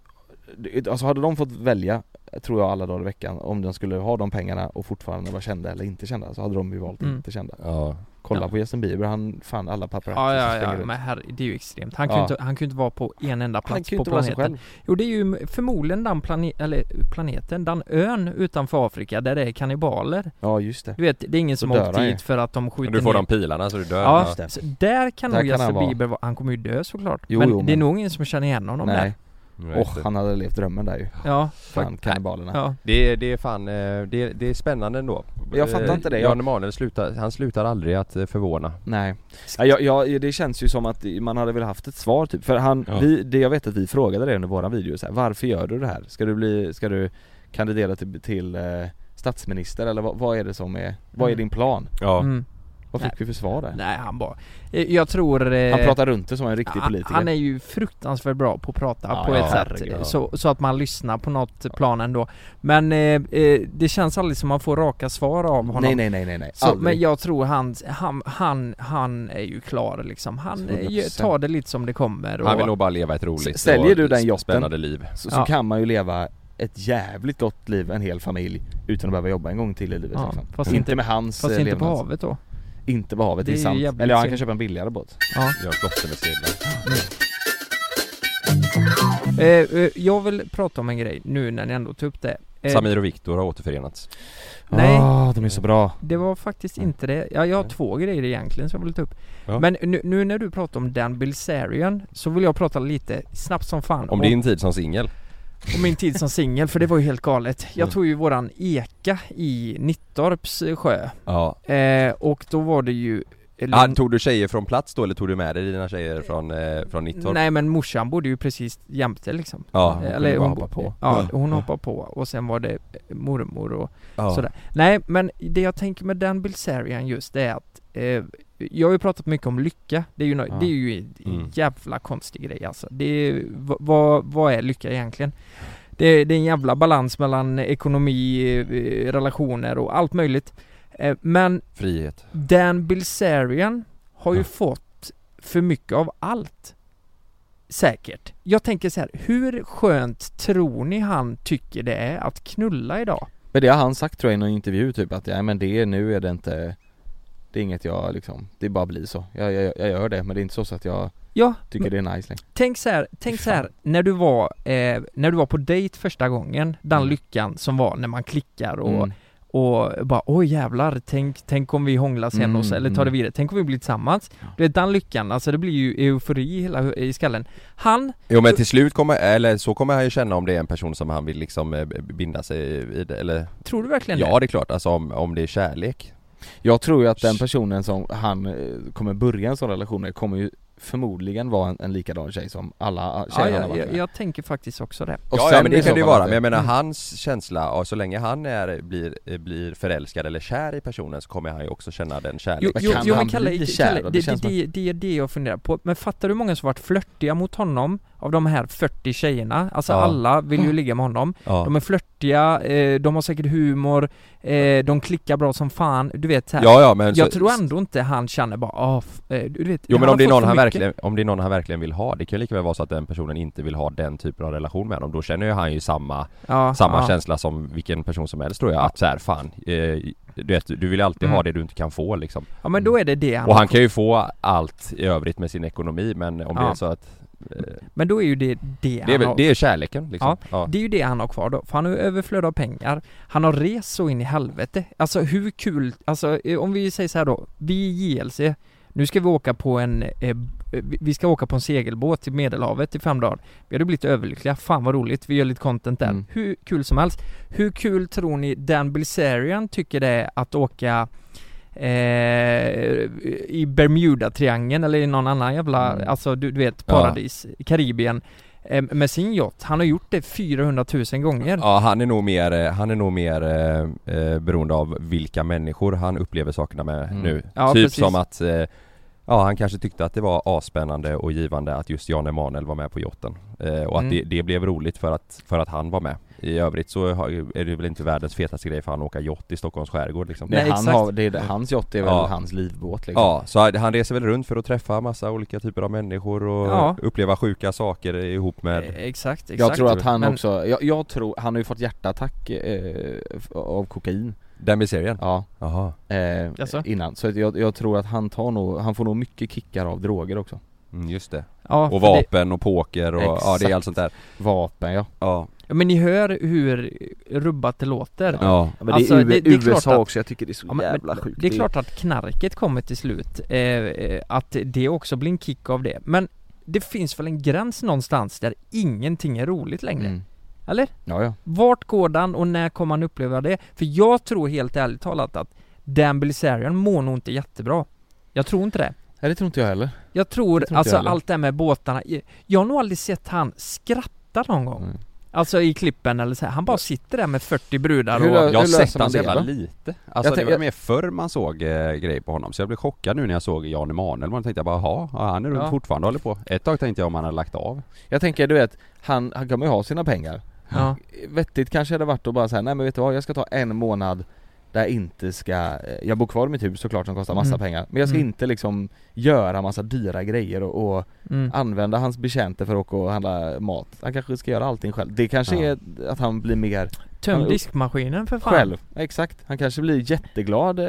[SPEAKER 4] alltså hade de fått välja tror jag alla dagar i veckan om de skulle ha de pengarna och fortfarande vara kända eller inte kända så hade de ju valt
[SPEAKER 3] Mm.
[SPEAKER 4] inte kända
[SPEAKER 2] Ja,
[SPEAKER 4] Kolla
[SPEAKER 3] Ja.
[SPEAKER 4] på Justin Bieber, han fan alla paparazzi
[SPEAKER 3] Ja,
[SPEAKER 4] som
[SPEAKER 3] ja,
[SPEAKER 4] springer
[SPEAKER 3] ja,
[SPEAKER 4] runt.
[SPEAKER 3] men herre, det är ju extremt. Han kunde,
[SPEAKER 4] Ja.
[SPEAKER 3] inte, han kunde inte vara på en enda
[SPEAKER 4] Han
[SPEAKER 3] plats
[SPEAKER 4] kan ju
[SPEAKER 3] på
[SPEAKER 4] inte vara sig
[SPEAKER 3] planeten.
[SPEAKER 4] själv
[SPEAKER 3] Jo det är ju förmodligen den plane, eller planeten, den ön utanför Afrika där det är kannibaler.
[SPEAKER 4] Ja just det
[SPEAKER 3] Du vet, det är ingen som
[SPEAKER 4] Då
[SPEAKER 3] har
[SPEAKER 4] dör
[SPEAKER 3] åkt
[SPEAKER 4] han ju.
[SPEAKER 3] dit för att de skjuter
[SPEAKER 2] men du får
[SPEAKER 3] ner.
[SPEAKER 2] de pilarna så du dör
[SPEAKER 3] Ja,
[SPEAKER 4] just det.
[SPEAKER 3] så där kan
[SPEAKER 4] Där
[SPEAKER 3] nog
[SPEAKER 4] kan han
[SPEAKER 3] Justin
[SPEAKER 4] vara.
[SPEAKER 3] Bieber vara, han kommer ju dö såklart.
[SPEAKER 4] Jo,
[SPEAKER 3] men
[SPEAKER 4] jo,
[SPEAKER 3] det är
[SPEAKER 4] men-
[SPEAKER 3] nog ingen som känner igen honom
[SPEAKER 4] Nej,
[SPEAKER 2] Ja, just
[SPEAKER 4] och
[SPEAKER 2] det.
[SPEAKER 4] han hade levt drömmen där ju
[SPEAKER 3] Ja,
[SPEAKER 4] Fan kannibalerna
[SPEAKER 3] ja.
[SPEAKER 2] det, det är fan, eh, det, det är spännande ändå
[SPEAKER 4] Jag fattar
[SPEAKER 2] Eh,
[SPEAKER 4] inte det.
[SPEAKER 2] Jan
[SPEAKER 4] Jag-
[SPEAKER 2] Emanuel slutar, han slutar aldrig att eh, förvåna
[SPEAKER 4] Nej, ja, jag, jag, det känns ju som att man hade väl haft ett svar typ, för han,
[SPEAKER 2] Ja.
[SPEAKER 4] vi, det jag vet att vi frågade det under våran video så här, varför gör du det här? Ska du bli, ska du kandidera till, till eh, statsminister eller vad, vad är det som är, vad är din plan?
[SPEAKER 2] Ja.
[SPEAKER 3] Mm.
[SPEAKER 4] Vad fick
[SPEAKER 3] Nej.
[SPEAKER 4] vi för svar där?
[SPEAKER 3] Nej han bara eh, Jag tror eh,
[SPEAKER 4] Han pratar runt det som en riktig
[SPEAKER 3] han-
[SPEAKER 4] politiker
[SPEAKER 3] Han är ju fruktansvärt bra på att prata
[SPEAKER 4] Ja,
[SPEAKER 3] på
[SPEAKER 4] ja,
[SPEAKER 3] ett sätt
[SPEAKER 4] herregud,
[SPEAKER 3] eh,
[SPEAKER 4] ja.
[SPEAKER 3] så, så att man lyssnar på något plan ändå Men eh, eh, det känns aldrig som man får raka svar av honom
[SPEAKER 4] Nej nej nej nej, nej.
[SPEAKER 3] Så,
[SPEAKER 4] Aldrig.
[SPEAKER 3] men jag tror han, han, han, han är ju klar liksom. Han eh, ju-
[SPEAKER 4] 100%.
[SPEAKER 3] tar det lite som det kommer och,
[SPEAKER 2] Han vill nog bara leva ett roligt
[SPEAKER 4] S- säljer
[SPEAKER 2] och
[SPEAKER 4] du den
[SPEAKER 2] sp-
[SPEAKER 4] jotten?
[SPEAKER 2] spännande liv.
[SPEAKER 4] så, så
[SPEAKER 3] Ja.
[SPEAKER 4] kan man ju leva ett jävligt gott liv, en hel familj utan att behöva jobba en gång till i livet
[SPEAKER 3] Ja,
[SPEAKER 4] liksom.
[SPEAKER 3] fast
[SPEAKER 4] Inte
[SPEAKER 3] inte-
[SPEAKER 4] med hans
[SPEAKER 3] Fast
[SPEAKER 4] eh,
[SPEAKER 3] inte på
[SPEAKER 4] levnads-
[SPEAKER 3] havet då.
[SPEAKER 4] Inte på havet, det är,
[SPEAKER 3] Det är
[SPEAKER 4] sant.
[SPEAKER 3] jävligt
[SPEAKER 4] Eller ja, han
[SPEAKER 3] synd.
[SPEAKER 4] kan köpa en billigare båt
[SPEAKER 3] Ja.
[SPEAKER 2] Gör flotte med seglar.
[SPEAKER 3] Eh, eh, jag vill prata om en grej nu när ni ändå tog upp det. Eh,
[SPEAKER 2] Samir och Viktor har återförenats.
[SPEAKER 3] Nej.
[SPEAKER 4] Ah, de är så bra
[SPEAKER 3] Det var faktiskt inte det. Ja, jag har två grejer egentligen som jag vill ta upp.
[SPEAKER 2] Mm. Ja.
[SPEAKER 3] Men nu, nu när du pratar om Dan Bilzerian så vill jag prata lite snabbt som fan
[SPEAKER 2] Om din tid som singel.
[SPEAKER 3] om min tid som singel för det var ju helt galet.
[SPEAKER 2] Mm.
[SPEAKER 3] Jag tog ju våran eka i Nittorps eh, sjö
[SPEAKER 2] Ja.
[SPEAKER 3] eh, och då var det ju eh, eller-
[SPEAKER 2] Ah, tog du tjejer från plats då eller tog du med dig dina tjejer från, eh, från Nittorp?
[SPEAKER 3] Nej men morsan bodde ju precis jämte liksom.
[SPEAKER 2] Ja, hon kunde
[SPEAKER 3] eller
[SPEAKER 2] bara
[SPEAKER 3] hon
[SPEAKER 2] hoppa på.
[SPEAKER 3] Ja,
[SPEAKER 2] Ja.
[SPEAKER 3] hon hoppade på och sen var det eh, mormor och
[SPEAKER 2] Ja.
[SPEAKER 3] Sådär. Nej, men det jag tänker med Dan Bilzerian just det är att eh, Jag har ju pratat mycket om lycka, det är ju, nå-
[SPEAKER 4] Ja.
[SPEAKER 3] det är ju en
[SPEAKER 2] Mm.
[SPEAKER 3] jävla konstig grej alltså. det är, vad, vad, vad är lycka egentligen? Det, det är en jävla balans mellan ekonomi, eh, relationer och allt möjligt eh, Men
[SPEAKER 2] Frihet.
[SPEAKER 3] Dan Bilzerian har ju
[SPEAKER 2] Ja.
[SPEAKER 3] fått för mycket av allt Säkert. Jag tänker så här, hur skönt tror ni han tycker det är att knulla idag?
[SPEAKER 4] Men det har han sagt tror jag i någon intervju typ att ja, men det nu är det inte Det är inget jag liksom, det bara blir så Jag, jag, jag gör det men det är inte så, så att jag
[SPEAKER 3] Ja,
[SPEAKER 4] tycker det är nice längre
[SPEAKER 3] Tänk så här, tänk
[SPEAKER 4] Fy
[SPEAKER 3] så här när du var, eh, när du var på dejt första gången, den
[SPEAKER 4] Mm.
[SPEAKER 3] lyckan som var när man klickar och,
[SPEAKER 4] Mm.
[SPEAKER 3] och bara oj jävlar, tänk, tänk om vi hånglar sen
[SPEAKER 4] Mm,
[SPEAKER 3] och så, eller tar det
[SPEAKER 4] mm.
[SPEAKER 3] vidare, tänk om vi blir tillsammans. Du vet den lyckan, alltså det blir ju eufori i hela i skallen. Han,
[SPEAKER 2] Jo men till slut kommer, eller så kommer han ju känna om det är en person som han vill liksom eh, binda sig vid eller
[SPEAKER 3] tror du verkligen
[SPEAKER 2] Ja det är klart, alltså om, om det är kärlek.
[SPEAKER 4] Jag tror ju att den personen som han eh, kommer börja en sån relation med kommer ju förmodligen vara en, en likadan tjej som alla
[SPEAKER 3] det? Ja,
[SPEAKER 4] tjejer han har
[SPEAKER 3] jag,
[SPEAKER 4] varit
[SPEAKER 3] jag,
[SPEAKER 4] med.
[SPEAKER 3] jag tänker faktiskt också det.
[SPEAKER 4] Och
[SPEAKER 2] ja,
[SPEAKER 4] sen
[SPEAKER 2] ja men
[SPEAKER 4] i
[SPEAKER 2] det
[SPEAKER 4] så
[SPEAKER 2] kan det ju
[SPEAKER 4] fall
[SPEAKER 2] vara,
[SPEAKER 4] att-
[SPEAKER 2] men jag menar
[SPEAKER 3] Mm.
[SPEAKER 2] hans känsla, och så länge han är, blir, eh, blir förälskad eller kär i personen så kommer han ju också känna den
[SPEAKER 3] Jo,
[SPEAKER 2] kärleken.
[SPEAKER 4] Men
[SPEAKER 3] jo,
[SPEAKER 4] kan
[SPEAKER 3] jo men
[SPEAKER 4] han
[SPEAKER 3] Kalle,
[SPEAKER 4] bli
[SPEAKER 3] Kalle,
[SPEAKER 4] kär då?
[SPEAKER 3] det,
[SPEAKER 4] Det
[SPEAKER 3] det,
[SPEAKER 4] känns som
[SPEAKER 3] det, det är det jag funderar på. Men fattar du hur många som varit flörtiga mot honom av de här 40 tjejerna? Alltså
[SPEAKER 2] Ja.
[SPEAKER 3] alla vill
[SPEAKER 4] Mm.
[SPEAKER 3] ju ligga med honom.
[SPEAKER 2] Ja.
[SPEAKER 3] De är flörtiga, eh, de har säkert humor, eh, de klickar bra som fan, du vet så här.
[SPEAKER 2] Ja, ja men
[SPEAKER 3] Jag
[SPEAKER 2] så,
[SPEAKER 3] tror ändå inte han känner bara ah, f- eh, du vet
[SPEAKER 2] Jo men
[SPEAKER 3] har
[SPEAKER 2] om det, är
[SPEAKER 3] fått
[SPEAKER 2] någon
[SPEAKER 3] för
[SPEAKER 2] han
[SPEAKER 3] mycket.
[SPEAKER 2] verkligen, om det är någon han verkligen vill ha, det kan ju lika väl vara så att den personen inte vill ha den typen av relation med honom. Då känner ju han ju samma,
[SPEAKER 3] ja,
[SPEAKER 2] samma
[SPEAKER 3] ja.
[SPEAKER 2] känsla som vilken person som helst tror jag.
[SPEAKER 3] Ja.
[SPEAKER 2] Att så här, fan, eh, du vet, du vill ju alltid
[SPEAKER 3] Mm.
[SPEAKER 2] ha det du inte kan få liksom.
[SPEAKER 3] Ja men då är det det han,
[SPEAKER 2] Och han kan ju få allt i övrigt med sin ekonomi men om det
[SPEAKER 3] Ja.
[SPEAKER 2] är så att eh,
[SPEAKER 3] Men då är ju det det han
[SPEAKER 2] det, är väl,
[SPEAKER 3] har.
[SPEAKER 2] det är kärleken liksom. Ja.
[SPEAKER 3] Det är ju det han har kvar då, för han har ju överflöd av pengar Han har rest så in i helvete Alltså hur kul, alltså eh, om vi säger så här då Vi i JLC Nu ska vi åka på en eh, vi- Vi ska åka på en segelbåt till medelhavet i fem dagar Vi hade blivit överlyckliga, fan vad roligt, vi gör lite content där
[SPEAKER 4] Mm.
[SPEAKER 3] Hur kul som helst Hur kul tror ni Dan Bilzerian tycker det är att åka eh, I Bermuda-triangeln eller i någon annan jävla,
[SPEAKER 4] Mm.
[SPEAKER 3] alltså du, du vet
[SPEAKER 2] Ja.
[SPEAKER 3] paradis, Karibien eh, med sin yacht. Han har gjort det 400 000 gånger.
[SPEAKER 2] Ja han är nog mer, eh, han är nog mer eh, eh, beroende av vilka människor han upplever sakerna med
[SPEAKER 4] Mm.
[SPEAKER 2] nu.
[SPEAKER 3] Ja,
[SPEAKER 2] typ
[SPEAKER 3] precis.
[SPEAKER 2] som att eh, Ja han kanske tyckte att det var asspännande och givande att just Jan Emanuel var med på yachten eh, Och att
[SPEAKER 3] Mm.
[SPEAKER 2] det, det blev roligt för att, för att han var med I övrigt så har- är det väl inte världens fetaste grej för han att åka yacht i Stockholms skärgård liksom
[SPEAKER 4] Det
[SPEAKER 3] Nej,
[SPEAKER 4] han
[SPEAKER 3] exakt.
[SPEAKER 4] har, det är, det- hans yacht är väl
[SPEAKER 2] Ja.
[SPEAKER 4] hans livbåt liksom
[SPEAKER 2] Ja, så han- han reser väl runt för att träffa massa olika typer av människor och
[SPEAKER 3] Ja.
[SPEAKER 2] uppleva sjuka saker ihop
[SPEAKER 3] Eh,
[SPEAKER 2] med
[SPEAKER 3] Exakt, exakt.
[SPEAKER 4] Jag tror att han
[SPEAKER 3] Men-
[SPEAKER 4] också, jag, jag tror, han har ju fått hjärtattack eh, f- av kokain
[SPEAKER 2] den miserien.
[SPEAKER 4] Ja
[SPEAKER 2] Jaha.
[SPEAKER 4] eh,
[SPEAKER 3] Jaså?
[SPEAKER 4] Innan, så att jag, jag tror att han tar nog, han får nog mycket kickar av droger också
[SPEAKER 2] Mm, just det.
[SPEAKER 3] Ja,
[SPEAKER 2] Och
[SPEAKER 3] för det-
[SPEAKER 2] vapen och poker och ja, det
[SPEAKER 4] Exakt.
[SPEAKER 2] är allt sånt där.
[SPEAKER 4] Vapen ja
[SPEAKER 2] Ja.
[SPEAKER 3] Ja, men ni hör hur rubbat det låter.
[SPEAKER 2] ja.
[SPEAKER 4] Ja, men
[SPEAKER 3] Alltså,
[SPEAKER 4] det är, U-
[SPEAKER 3] det- det är klart
[SPEAKER 4] USA
[SPEAKER 3] att-
[SPEAKER 4] också, jag tycker det är så
[SPEAKER 3] Ja, men-
[SPEAKER 4] jävla
[SPEAKER 3] men
[SPEAKER 4] sjukt
[SPEAKER 3] Det är klart att knarket kommer till slut, eh, eh, att det också blir en kick av det. Men det finns väl en gräns någonstans där ingenting är roligt längre?
[SPEAKER 4] Mm.
[SPEAKER 3] Eller?
[SPEAKER 4] Ja ja,
[SPEAKER 3] Vart går den och när kommer han uppleva det? För jag tror helt ärligt talat att Dan Bilzerian mår nog inte jättebra. Jag tror inte det.
[SPEAKER 4] Nej, det tror inte jag heller
[SPEAKER 3] Jag tror,
[SPEAKER 4] Det tror inte
[SPEAKER 3] alltså
[SPEAKER 4] jag heller.
[SPEAKER 3] allt det här med båtarna Jag har nog aldrig sett han skratta någon gång
[SPEAKER 4] Mm.
[SPEAKER 3] Alltså i klippen eller så här. Han bara sitter där med 40 brudar
[SPEAKER 4] Hur
[SPEAKER 3] och...
[SPEAKER 4] då?
[SPEAKER 2] Jag har
[SPEAKER 4] löser
[SPEAKER 2] sett
[SPEAKER 4] man
[SPEAKER 2] han så
[SPEAKER 4] det
[SPEAKER 2] jävla
[SPEAKER 4] då?
[SPEAKER 2] lite. Alltså
[SPEAKER 4] Jag
[SPEAKER 2] det
[SPEAKER 4] tänk-
[SPEAKER 2] var
[SPEAKER 4] jag-
[SPEAKER 2] mer förr man såg eh, grejer på honom. Så jag blev chockad nu när jag såg Jan Emanuel. Man tänkte jag bara, jaha, ja, han är runt
[SPEAKER 3] Ja.
[SPEAKER 2] fortfarande och håller på. Ett tag tänkte jag om han hade lagt av.
[SPEAKER 4] Jag tänker du vet, han, han kommer ju ha sina pengar
[SPEAKER 3] Ja.
[SPEAKER 4] Vettigt kanske hade varit att bara säga nej men vet du vad, jag ska ta en månad där jag inte ska, eh, jag bor kvar i mitt hus såklart som kostar massa
[SPEAKER 3] Mm.
[SPEAKER 4] pengar Men jag ska
[SPEAKER 3] Mm.
[SPEAKER 4] inte liksom göra massa dyra grejer och, och
[SPEAKER 3] Mm.
[SPEAKER 4] använda hans betjänter för att åka och handla mat Han kanske ska göra allting själv, det kanske
[SPEAKER 2] Ja.
[SPEAKER 4] är att han blir mer
[SPEAKER 3] Töm diskmaskinen för fan.
[SPEAKER 4] själv Exakt, han kanske blir jätteglad eh,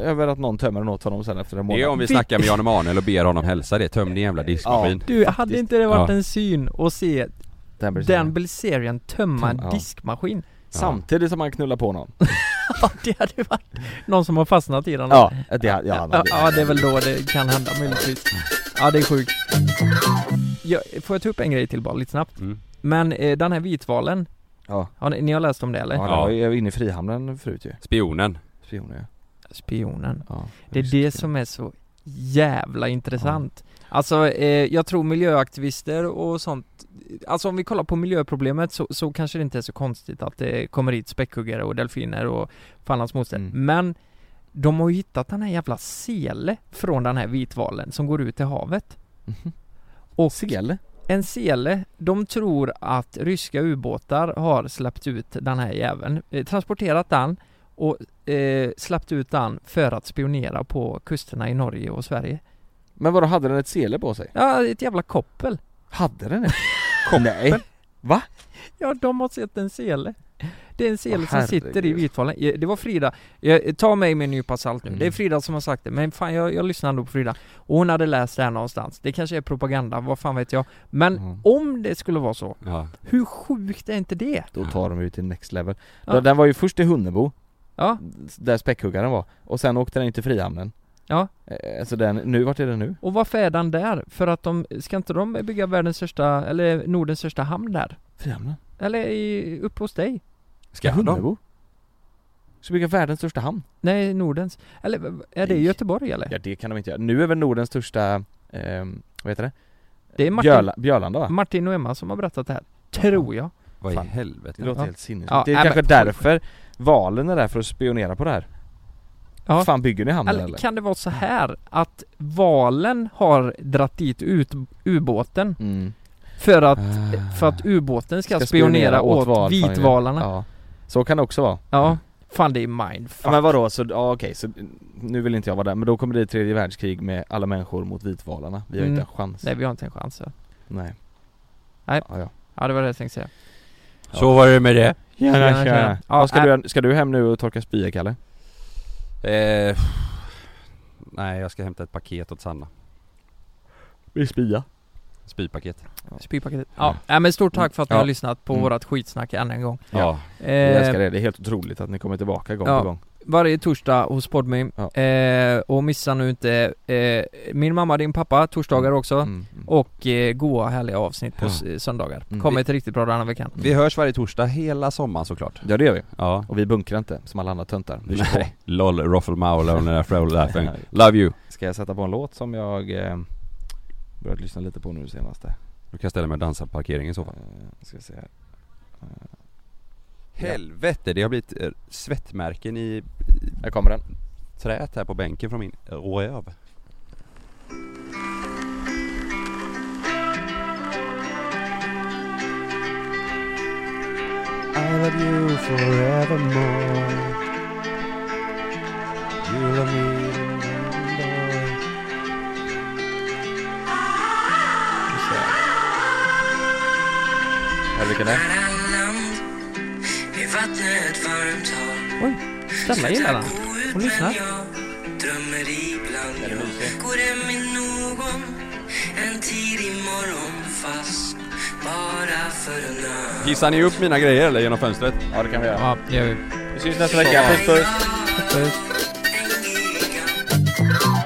[SPEAKER 4] över att någon tömmer den åt honom sen efter en
[SPEAKER 2] Det är om
[SPEAKER 4] månad
[SPEAKER 2] vi
[SPEAKER 3] Vi-
[SPEAKER 2] snackar med Jan Emanuel och ber honom hälsa det. Töm din jävla diskmaskin.
[SPEAKER 3] Du, hade inte det varit
[SPEAKER 2] Ja.
[SPEAKER 3] en syn att se
[SPEAKER 4] Den blir så-
[SPEAKER 3] den Belzerian tömma en
[SPEAKER 4] Töm- ja.
[SPEAKER 3] diskmaskin? *laughs*
[SPEAKER 4] Samtidigt som han knullar på någon
[SPEAKER 3] Ja, det hade varit någon som har fastnat i den.
[SPEAKER 4] Ja, det, ja, han- Mm.
[SPEAKER 3] Ja, ja, det är väl då det kan hända möjligtvis. Ja, det är sjukt. Jag, får jag ta upp en grej till bara lite snabbt?
[SPEAKER 2] Mm.
[SPEAKER 3] Men eh, den här vitvalen,
[SPEAKER 4] Ja.
[SPEAKER 3] har ni, ni har läst om det eller?
[SPEAKER 4] Ja,
[SPEAKER 2] Ja.
[SPEAKER 4] ja. Jag var inne i Frihamnen förut ju.
[SPEAKER 2] Spionen.
[SPEAKER 4] Spioner ju.
[SPEAKER 3] Spionen.
[SPEAKER 4] Ja.
[SPEAKER 3] Det är det som är så jävla intressant. Alltså, eh, jag tror miljöaktivister och sånt Alltså om vi kollar på miljöproblemet så, så kanske det inte är så konstigt att det kommer hit späckhuggare och delfiner och fan hans moster.
[SPEAKER 4] Mm.
[SPEAKER 3] Men de har ju hittat den här jävla sele från den här vitvalen som går ut till havet.
[SPEAKER 4] Mhm.
[SPEAKER 3] Och
[SPEAKER 4] Sele?
[SPEAKER 3] En sele, de tror att ryska ubåtar har släppt ut den här jäveln, eh, transporterat den och eh, släppt ut den för att spionera på kusterna i Norge och Sverige.
[SPEAKER 4] Men vadå, hade den ett sele på sig?
[SPEAKER 3] Ja, ett jävla koppel.
[SPEAKER 4] Hade den *laughs* det? Nej. Va?
[SPEAKER 3] Ja, de har sett en sele. Det är en sele
[SPEAKER 4] Åh,
[SPEAKER 3] som sitter i
[SPEAKER 4] herregud.
[SPEAKER 3] Vitvalen. Eh, Det var Frida, jag, ta mig med en nypa salt nu.
[SPEAKER 4] Mm.
[SPEAKER 3] Det är Frida som har sagt det, men fan jag, jag lyssnar ändå på Frida. Och hon hade läst det här någonstans. Det kanske är propaganda, vad fan vet jag. Men
[SPEAKER 4] Mm.
[SPEAKER 3] om det skulle vara så,
[SPEAKER 2] Ja.
[SPEAKER 3] hur sjukt är inte det?
[SPEAKER 4] Då tar de ut till next level.
[SPEAKER 3] Ja.
[SPEAKER 4] Då- Den var ju först i Hunnebo,
[SPEAKER 3] Ja,
[SPEAKER 4] där späckhuggaren var, och sen åkte den in till Frihamnen.
[SPEAKER 3] Ja.
[SPEAKER 4] Eh, Alltså den, nu, vart är den nu?
[SPEAKER 3] Och varför är den där? För att de, ska inte de bygga världens största, eller Nordens största hamn där?
[SPEAKER 4] Frihamnen?
[SPEAKER 3] Eller i, uppe hos dig?
[SPEAKER 2] Ska de?
[SPEAKER 4] Hunnebo? Ska bygga världens största hamn?
[SPEAKER 3] Nej, Nordens. Eller är det
[SPEAKER 4] Nej.
[SPEAKER 3] Göteborg eller?
[SPEAKER 4] Ja det kan de inte göra. Nu är väl Nordens största, ehm, vad heter det?
[SPEAKER 3] Det är Martin,
[SPEAKER 4] Björla, Björlanda va?
[SPEAKER 3] Martin och Emma som har berättat det här. Tror jag.
[SPEAKER 2] Vad i
[SPEAKER 4] Fan. Det
[SPEAKER 2] helvete?
[SPEAKER 4] låter
[SPEAKER 3] Ja.
[SPEAKER 4] helt sinnessjukt.
[SPEAKER 3] Ja,
[SPEAKER 4] det är
[SPEAKER 3] nej,
[SPEAKER 4] kanske
[SPEAKER 3] men-
[SPEAKER 4] därför valen är där för att spionera på det här.
[SPEAKER 3] Ja.
[SPEAKER 4] Fan bygger ni hamnen eller?
[SPEAKER 3] Eller kan det vara så
[SPEAKER 4] Mm.
[SPEAKER 3] här att valen har dratt dit ut ubåten
[SPEAKER 4] Mm.
[SPEAKER 3] för att,
[SPEAKER 4] Ah.
[SPEAKER 3] för att ubåten ska, spionera, åt,
[SPEAKER 4] val-
[SPEAKER 3] vitvalarna? Ja.
[SPEAKER 4] Ja. Så kan det också vara.
[SPEAKER 3] Fan det är mindfuck.
[SPEAKER 4] Ja, men vadå, så, ja, okej, så nu vill inte jag vara där, men då kommer det tredje världskrig med alla människor mot vitvalarna. Vi har
[SPEAKER 3] Mm.
[SPEAKER 4] inte en chans.
[SPEAKER 3] Nej vi har inte en chans. ja.
[SPEAKER 4] Nej.
[SPEAKER 3] Nej.
[SPEAKER 4] Ja, ja.
[SPEAKER 3] Ja det var det jag tänkte säga.
[SPEAKER 2] Så var det med det.
[SPEAKER 4] Tjena,
[SPEAKER 3] tjena.
[SPEAKER 4] tjena.
[SPEAKER 3] Ja,
[SPEAKER 4] Ja, ska,
[SPEAKER 3] äh-
[SPEAKER 4] du, ska du hem nu och torka spyor Kalle?
[SPEAKER 2] Eh, nej, jag ska hämta ett paket åt Sanna.
[SPEAKER 4] Vi spya.
[SPEAKER 2] Spypaket.
[SPEAKER 3] Spypaketet. Ja,
[SPEAKER 2] Ja.
[SPEAKER 3] nej, men stort tack för att ni
[SPEAKER 4] Mm. Ja.
[SPEAKER 3] har lyssnat på
[SPEAKER 4] Mm.
[SPEAKER 3] vårat skitsnack än en gång.
[SPEAKER 2] Ja.
[SPEAKER 4] Jag
[SPEAKER 3] Eh,
[SPEAKER 4] älskar det, det är helt otroligt att ni kommer tillbaka gång
[SPEAKER 3] Ja.
[SPEAKER 4] på gång.
[SPEAKER 3] varje torsdag hos Podmy.
[SPEAKER 4] Ja.
[SPEAKER 3] Eh, och missa nu inte eh, min mamma, din pappa, torsdagar också.
[SPEAKER 4] Mm. Mm.
[SPEAKER 3] Och eh, goa härliga avsnitt på
[SPEAKER 2] Ja.
[SPEAKER 3] s- söndagar.
[SPEAKER 4] Mm.
[SPEAKER 3] Kommer ett riktigt bra denna veckan.
[SPEAKER 2] Vi hörs varje torsdag hela sommaren såklart.
[SPEAKER 4] Ja det gör vi.
[SPEAKER 2] Ja.
[SPEAKER 4] Och vi bunkrar inte som alla andra töntar. Vi kör på.
[SPEAKER 2] Nej. LOL, Ruffle Mowler och den där Frollo där thing. Love you.
[SPEAKER 4] *laughs* Ska jag sätta på en låt som jag eh, börjat lyssna lite på nu senaste?
[SPEAKER 2] Du kan ställa mig och dansa på parkeringen i så
[SPEAKER 4] Eh,
[SPEAKER 2] fall.
[SPEAKER 4] ska vi se här.
[SPEAKER 2] Helvete, det har blivit eh, svettmärken i
[SPEAKER 4] Här kommer den.
[SPEAKER 2] träet här på bänken från min eh, röv. I love you forevermore You love me
[SPEAKER 4] Här vilken det är?
[SPEAKER 3] Ställa gillar den. Hon lyssnar.
[SPEAKER 5] Går hem med någon en tidig morgon fast bara för en natt
[SPEAKER 2] Hissar ni upp mina grejer eller genom fönstret?
[SPEAKER 4] Ja det kan vi göra.
[SPEAKER 3] Ja, det gör vi.
[SPEAKER 4] Vi syns nästa vecka. Puss puss.
[SPEAKER 5] En gigant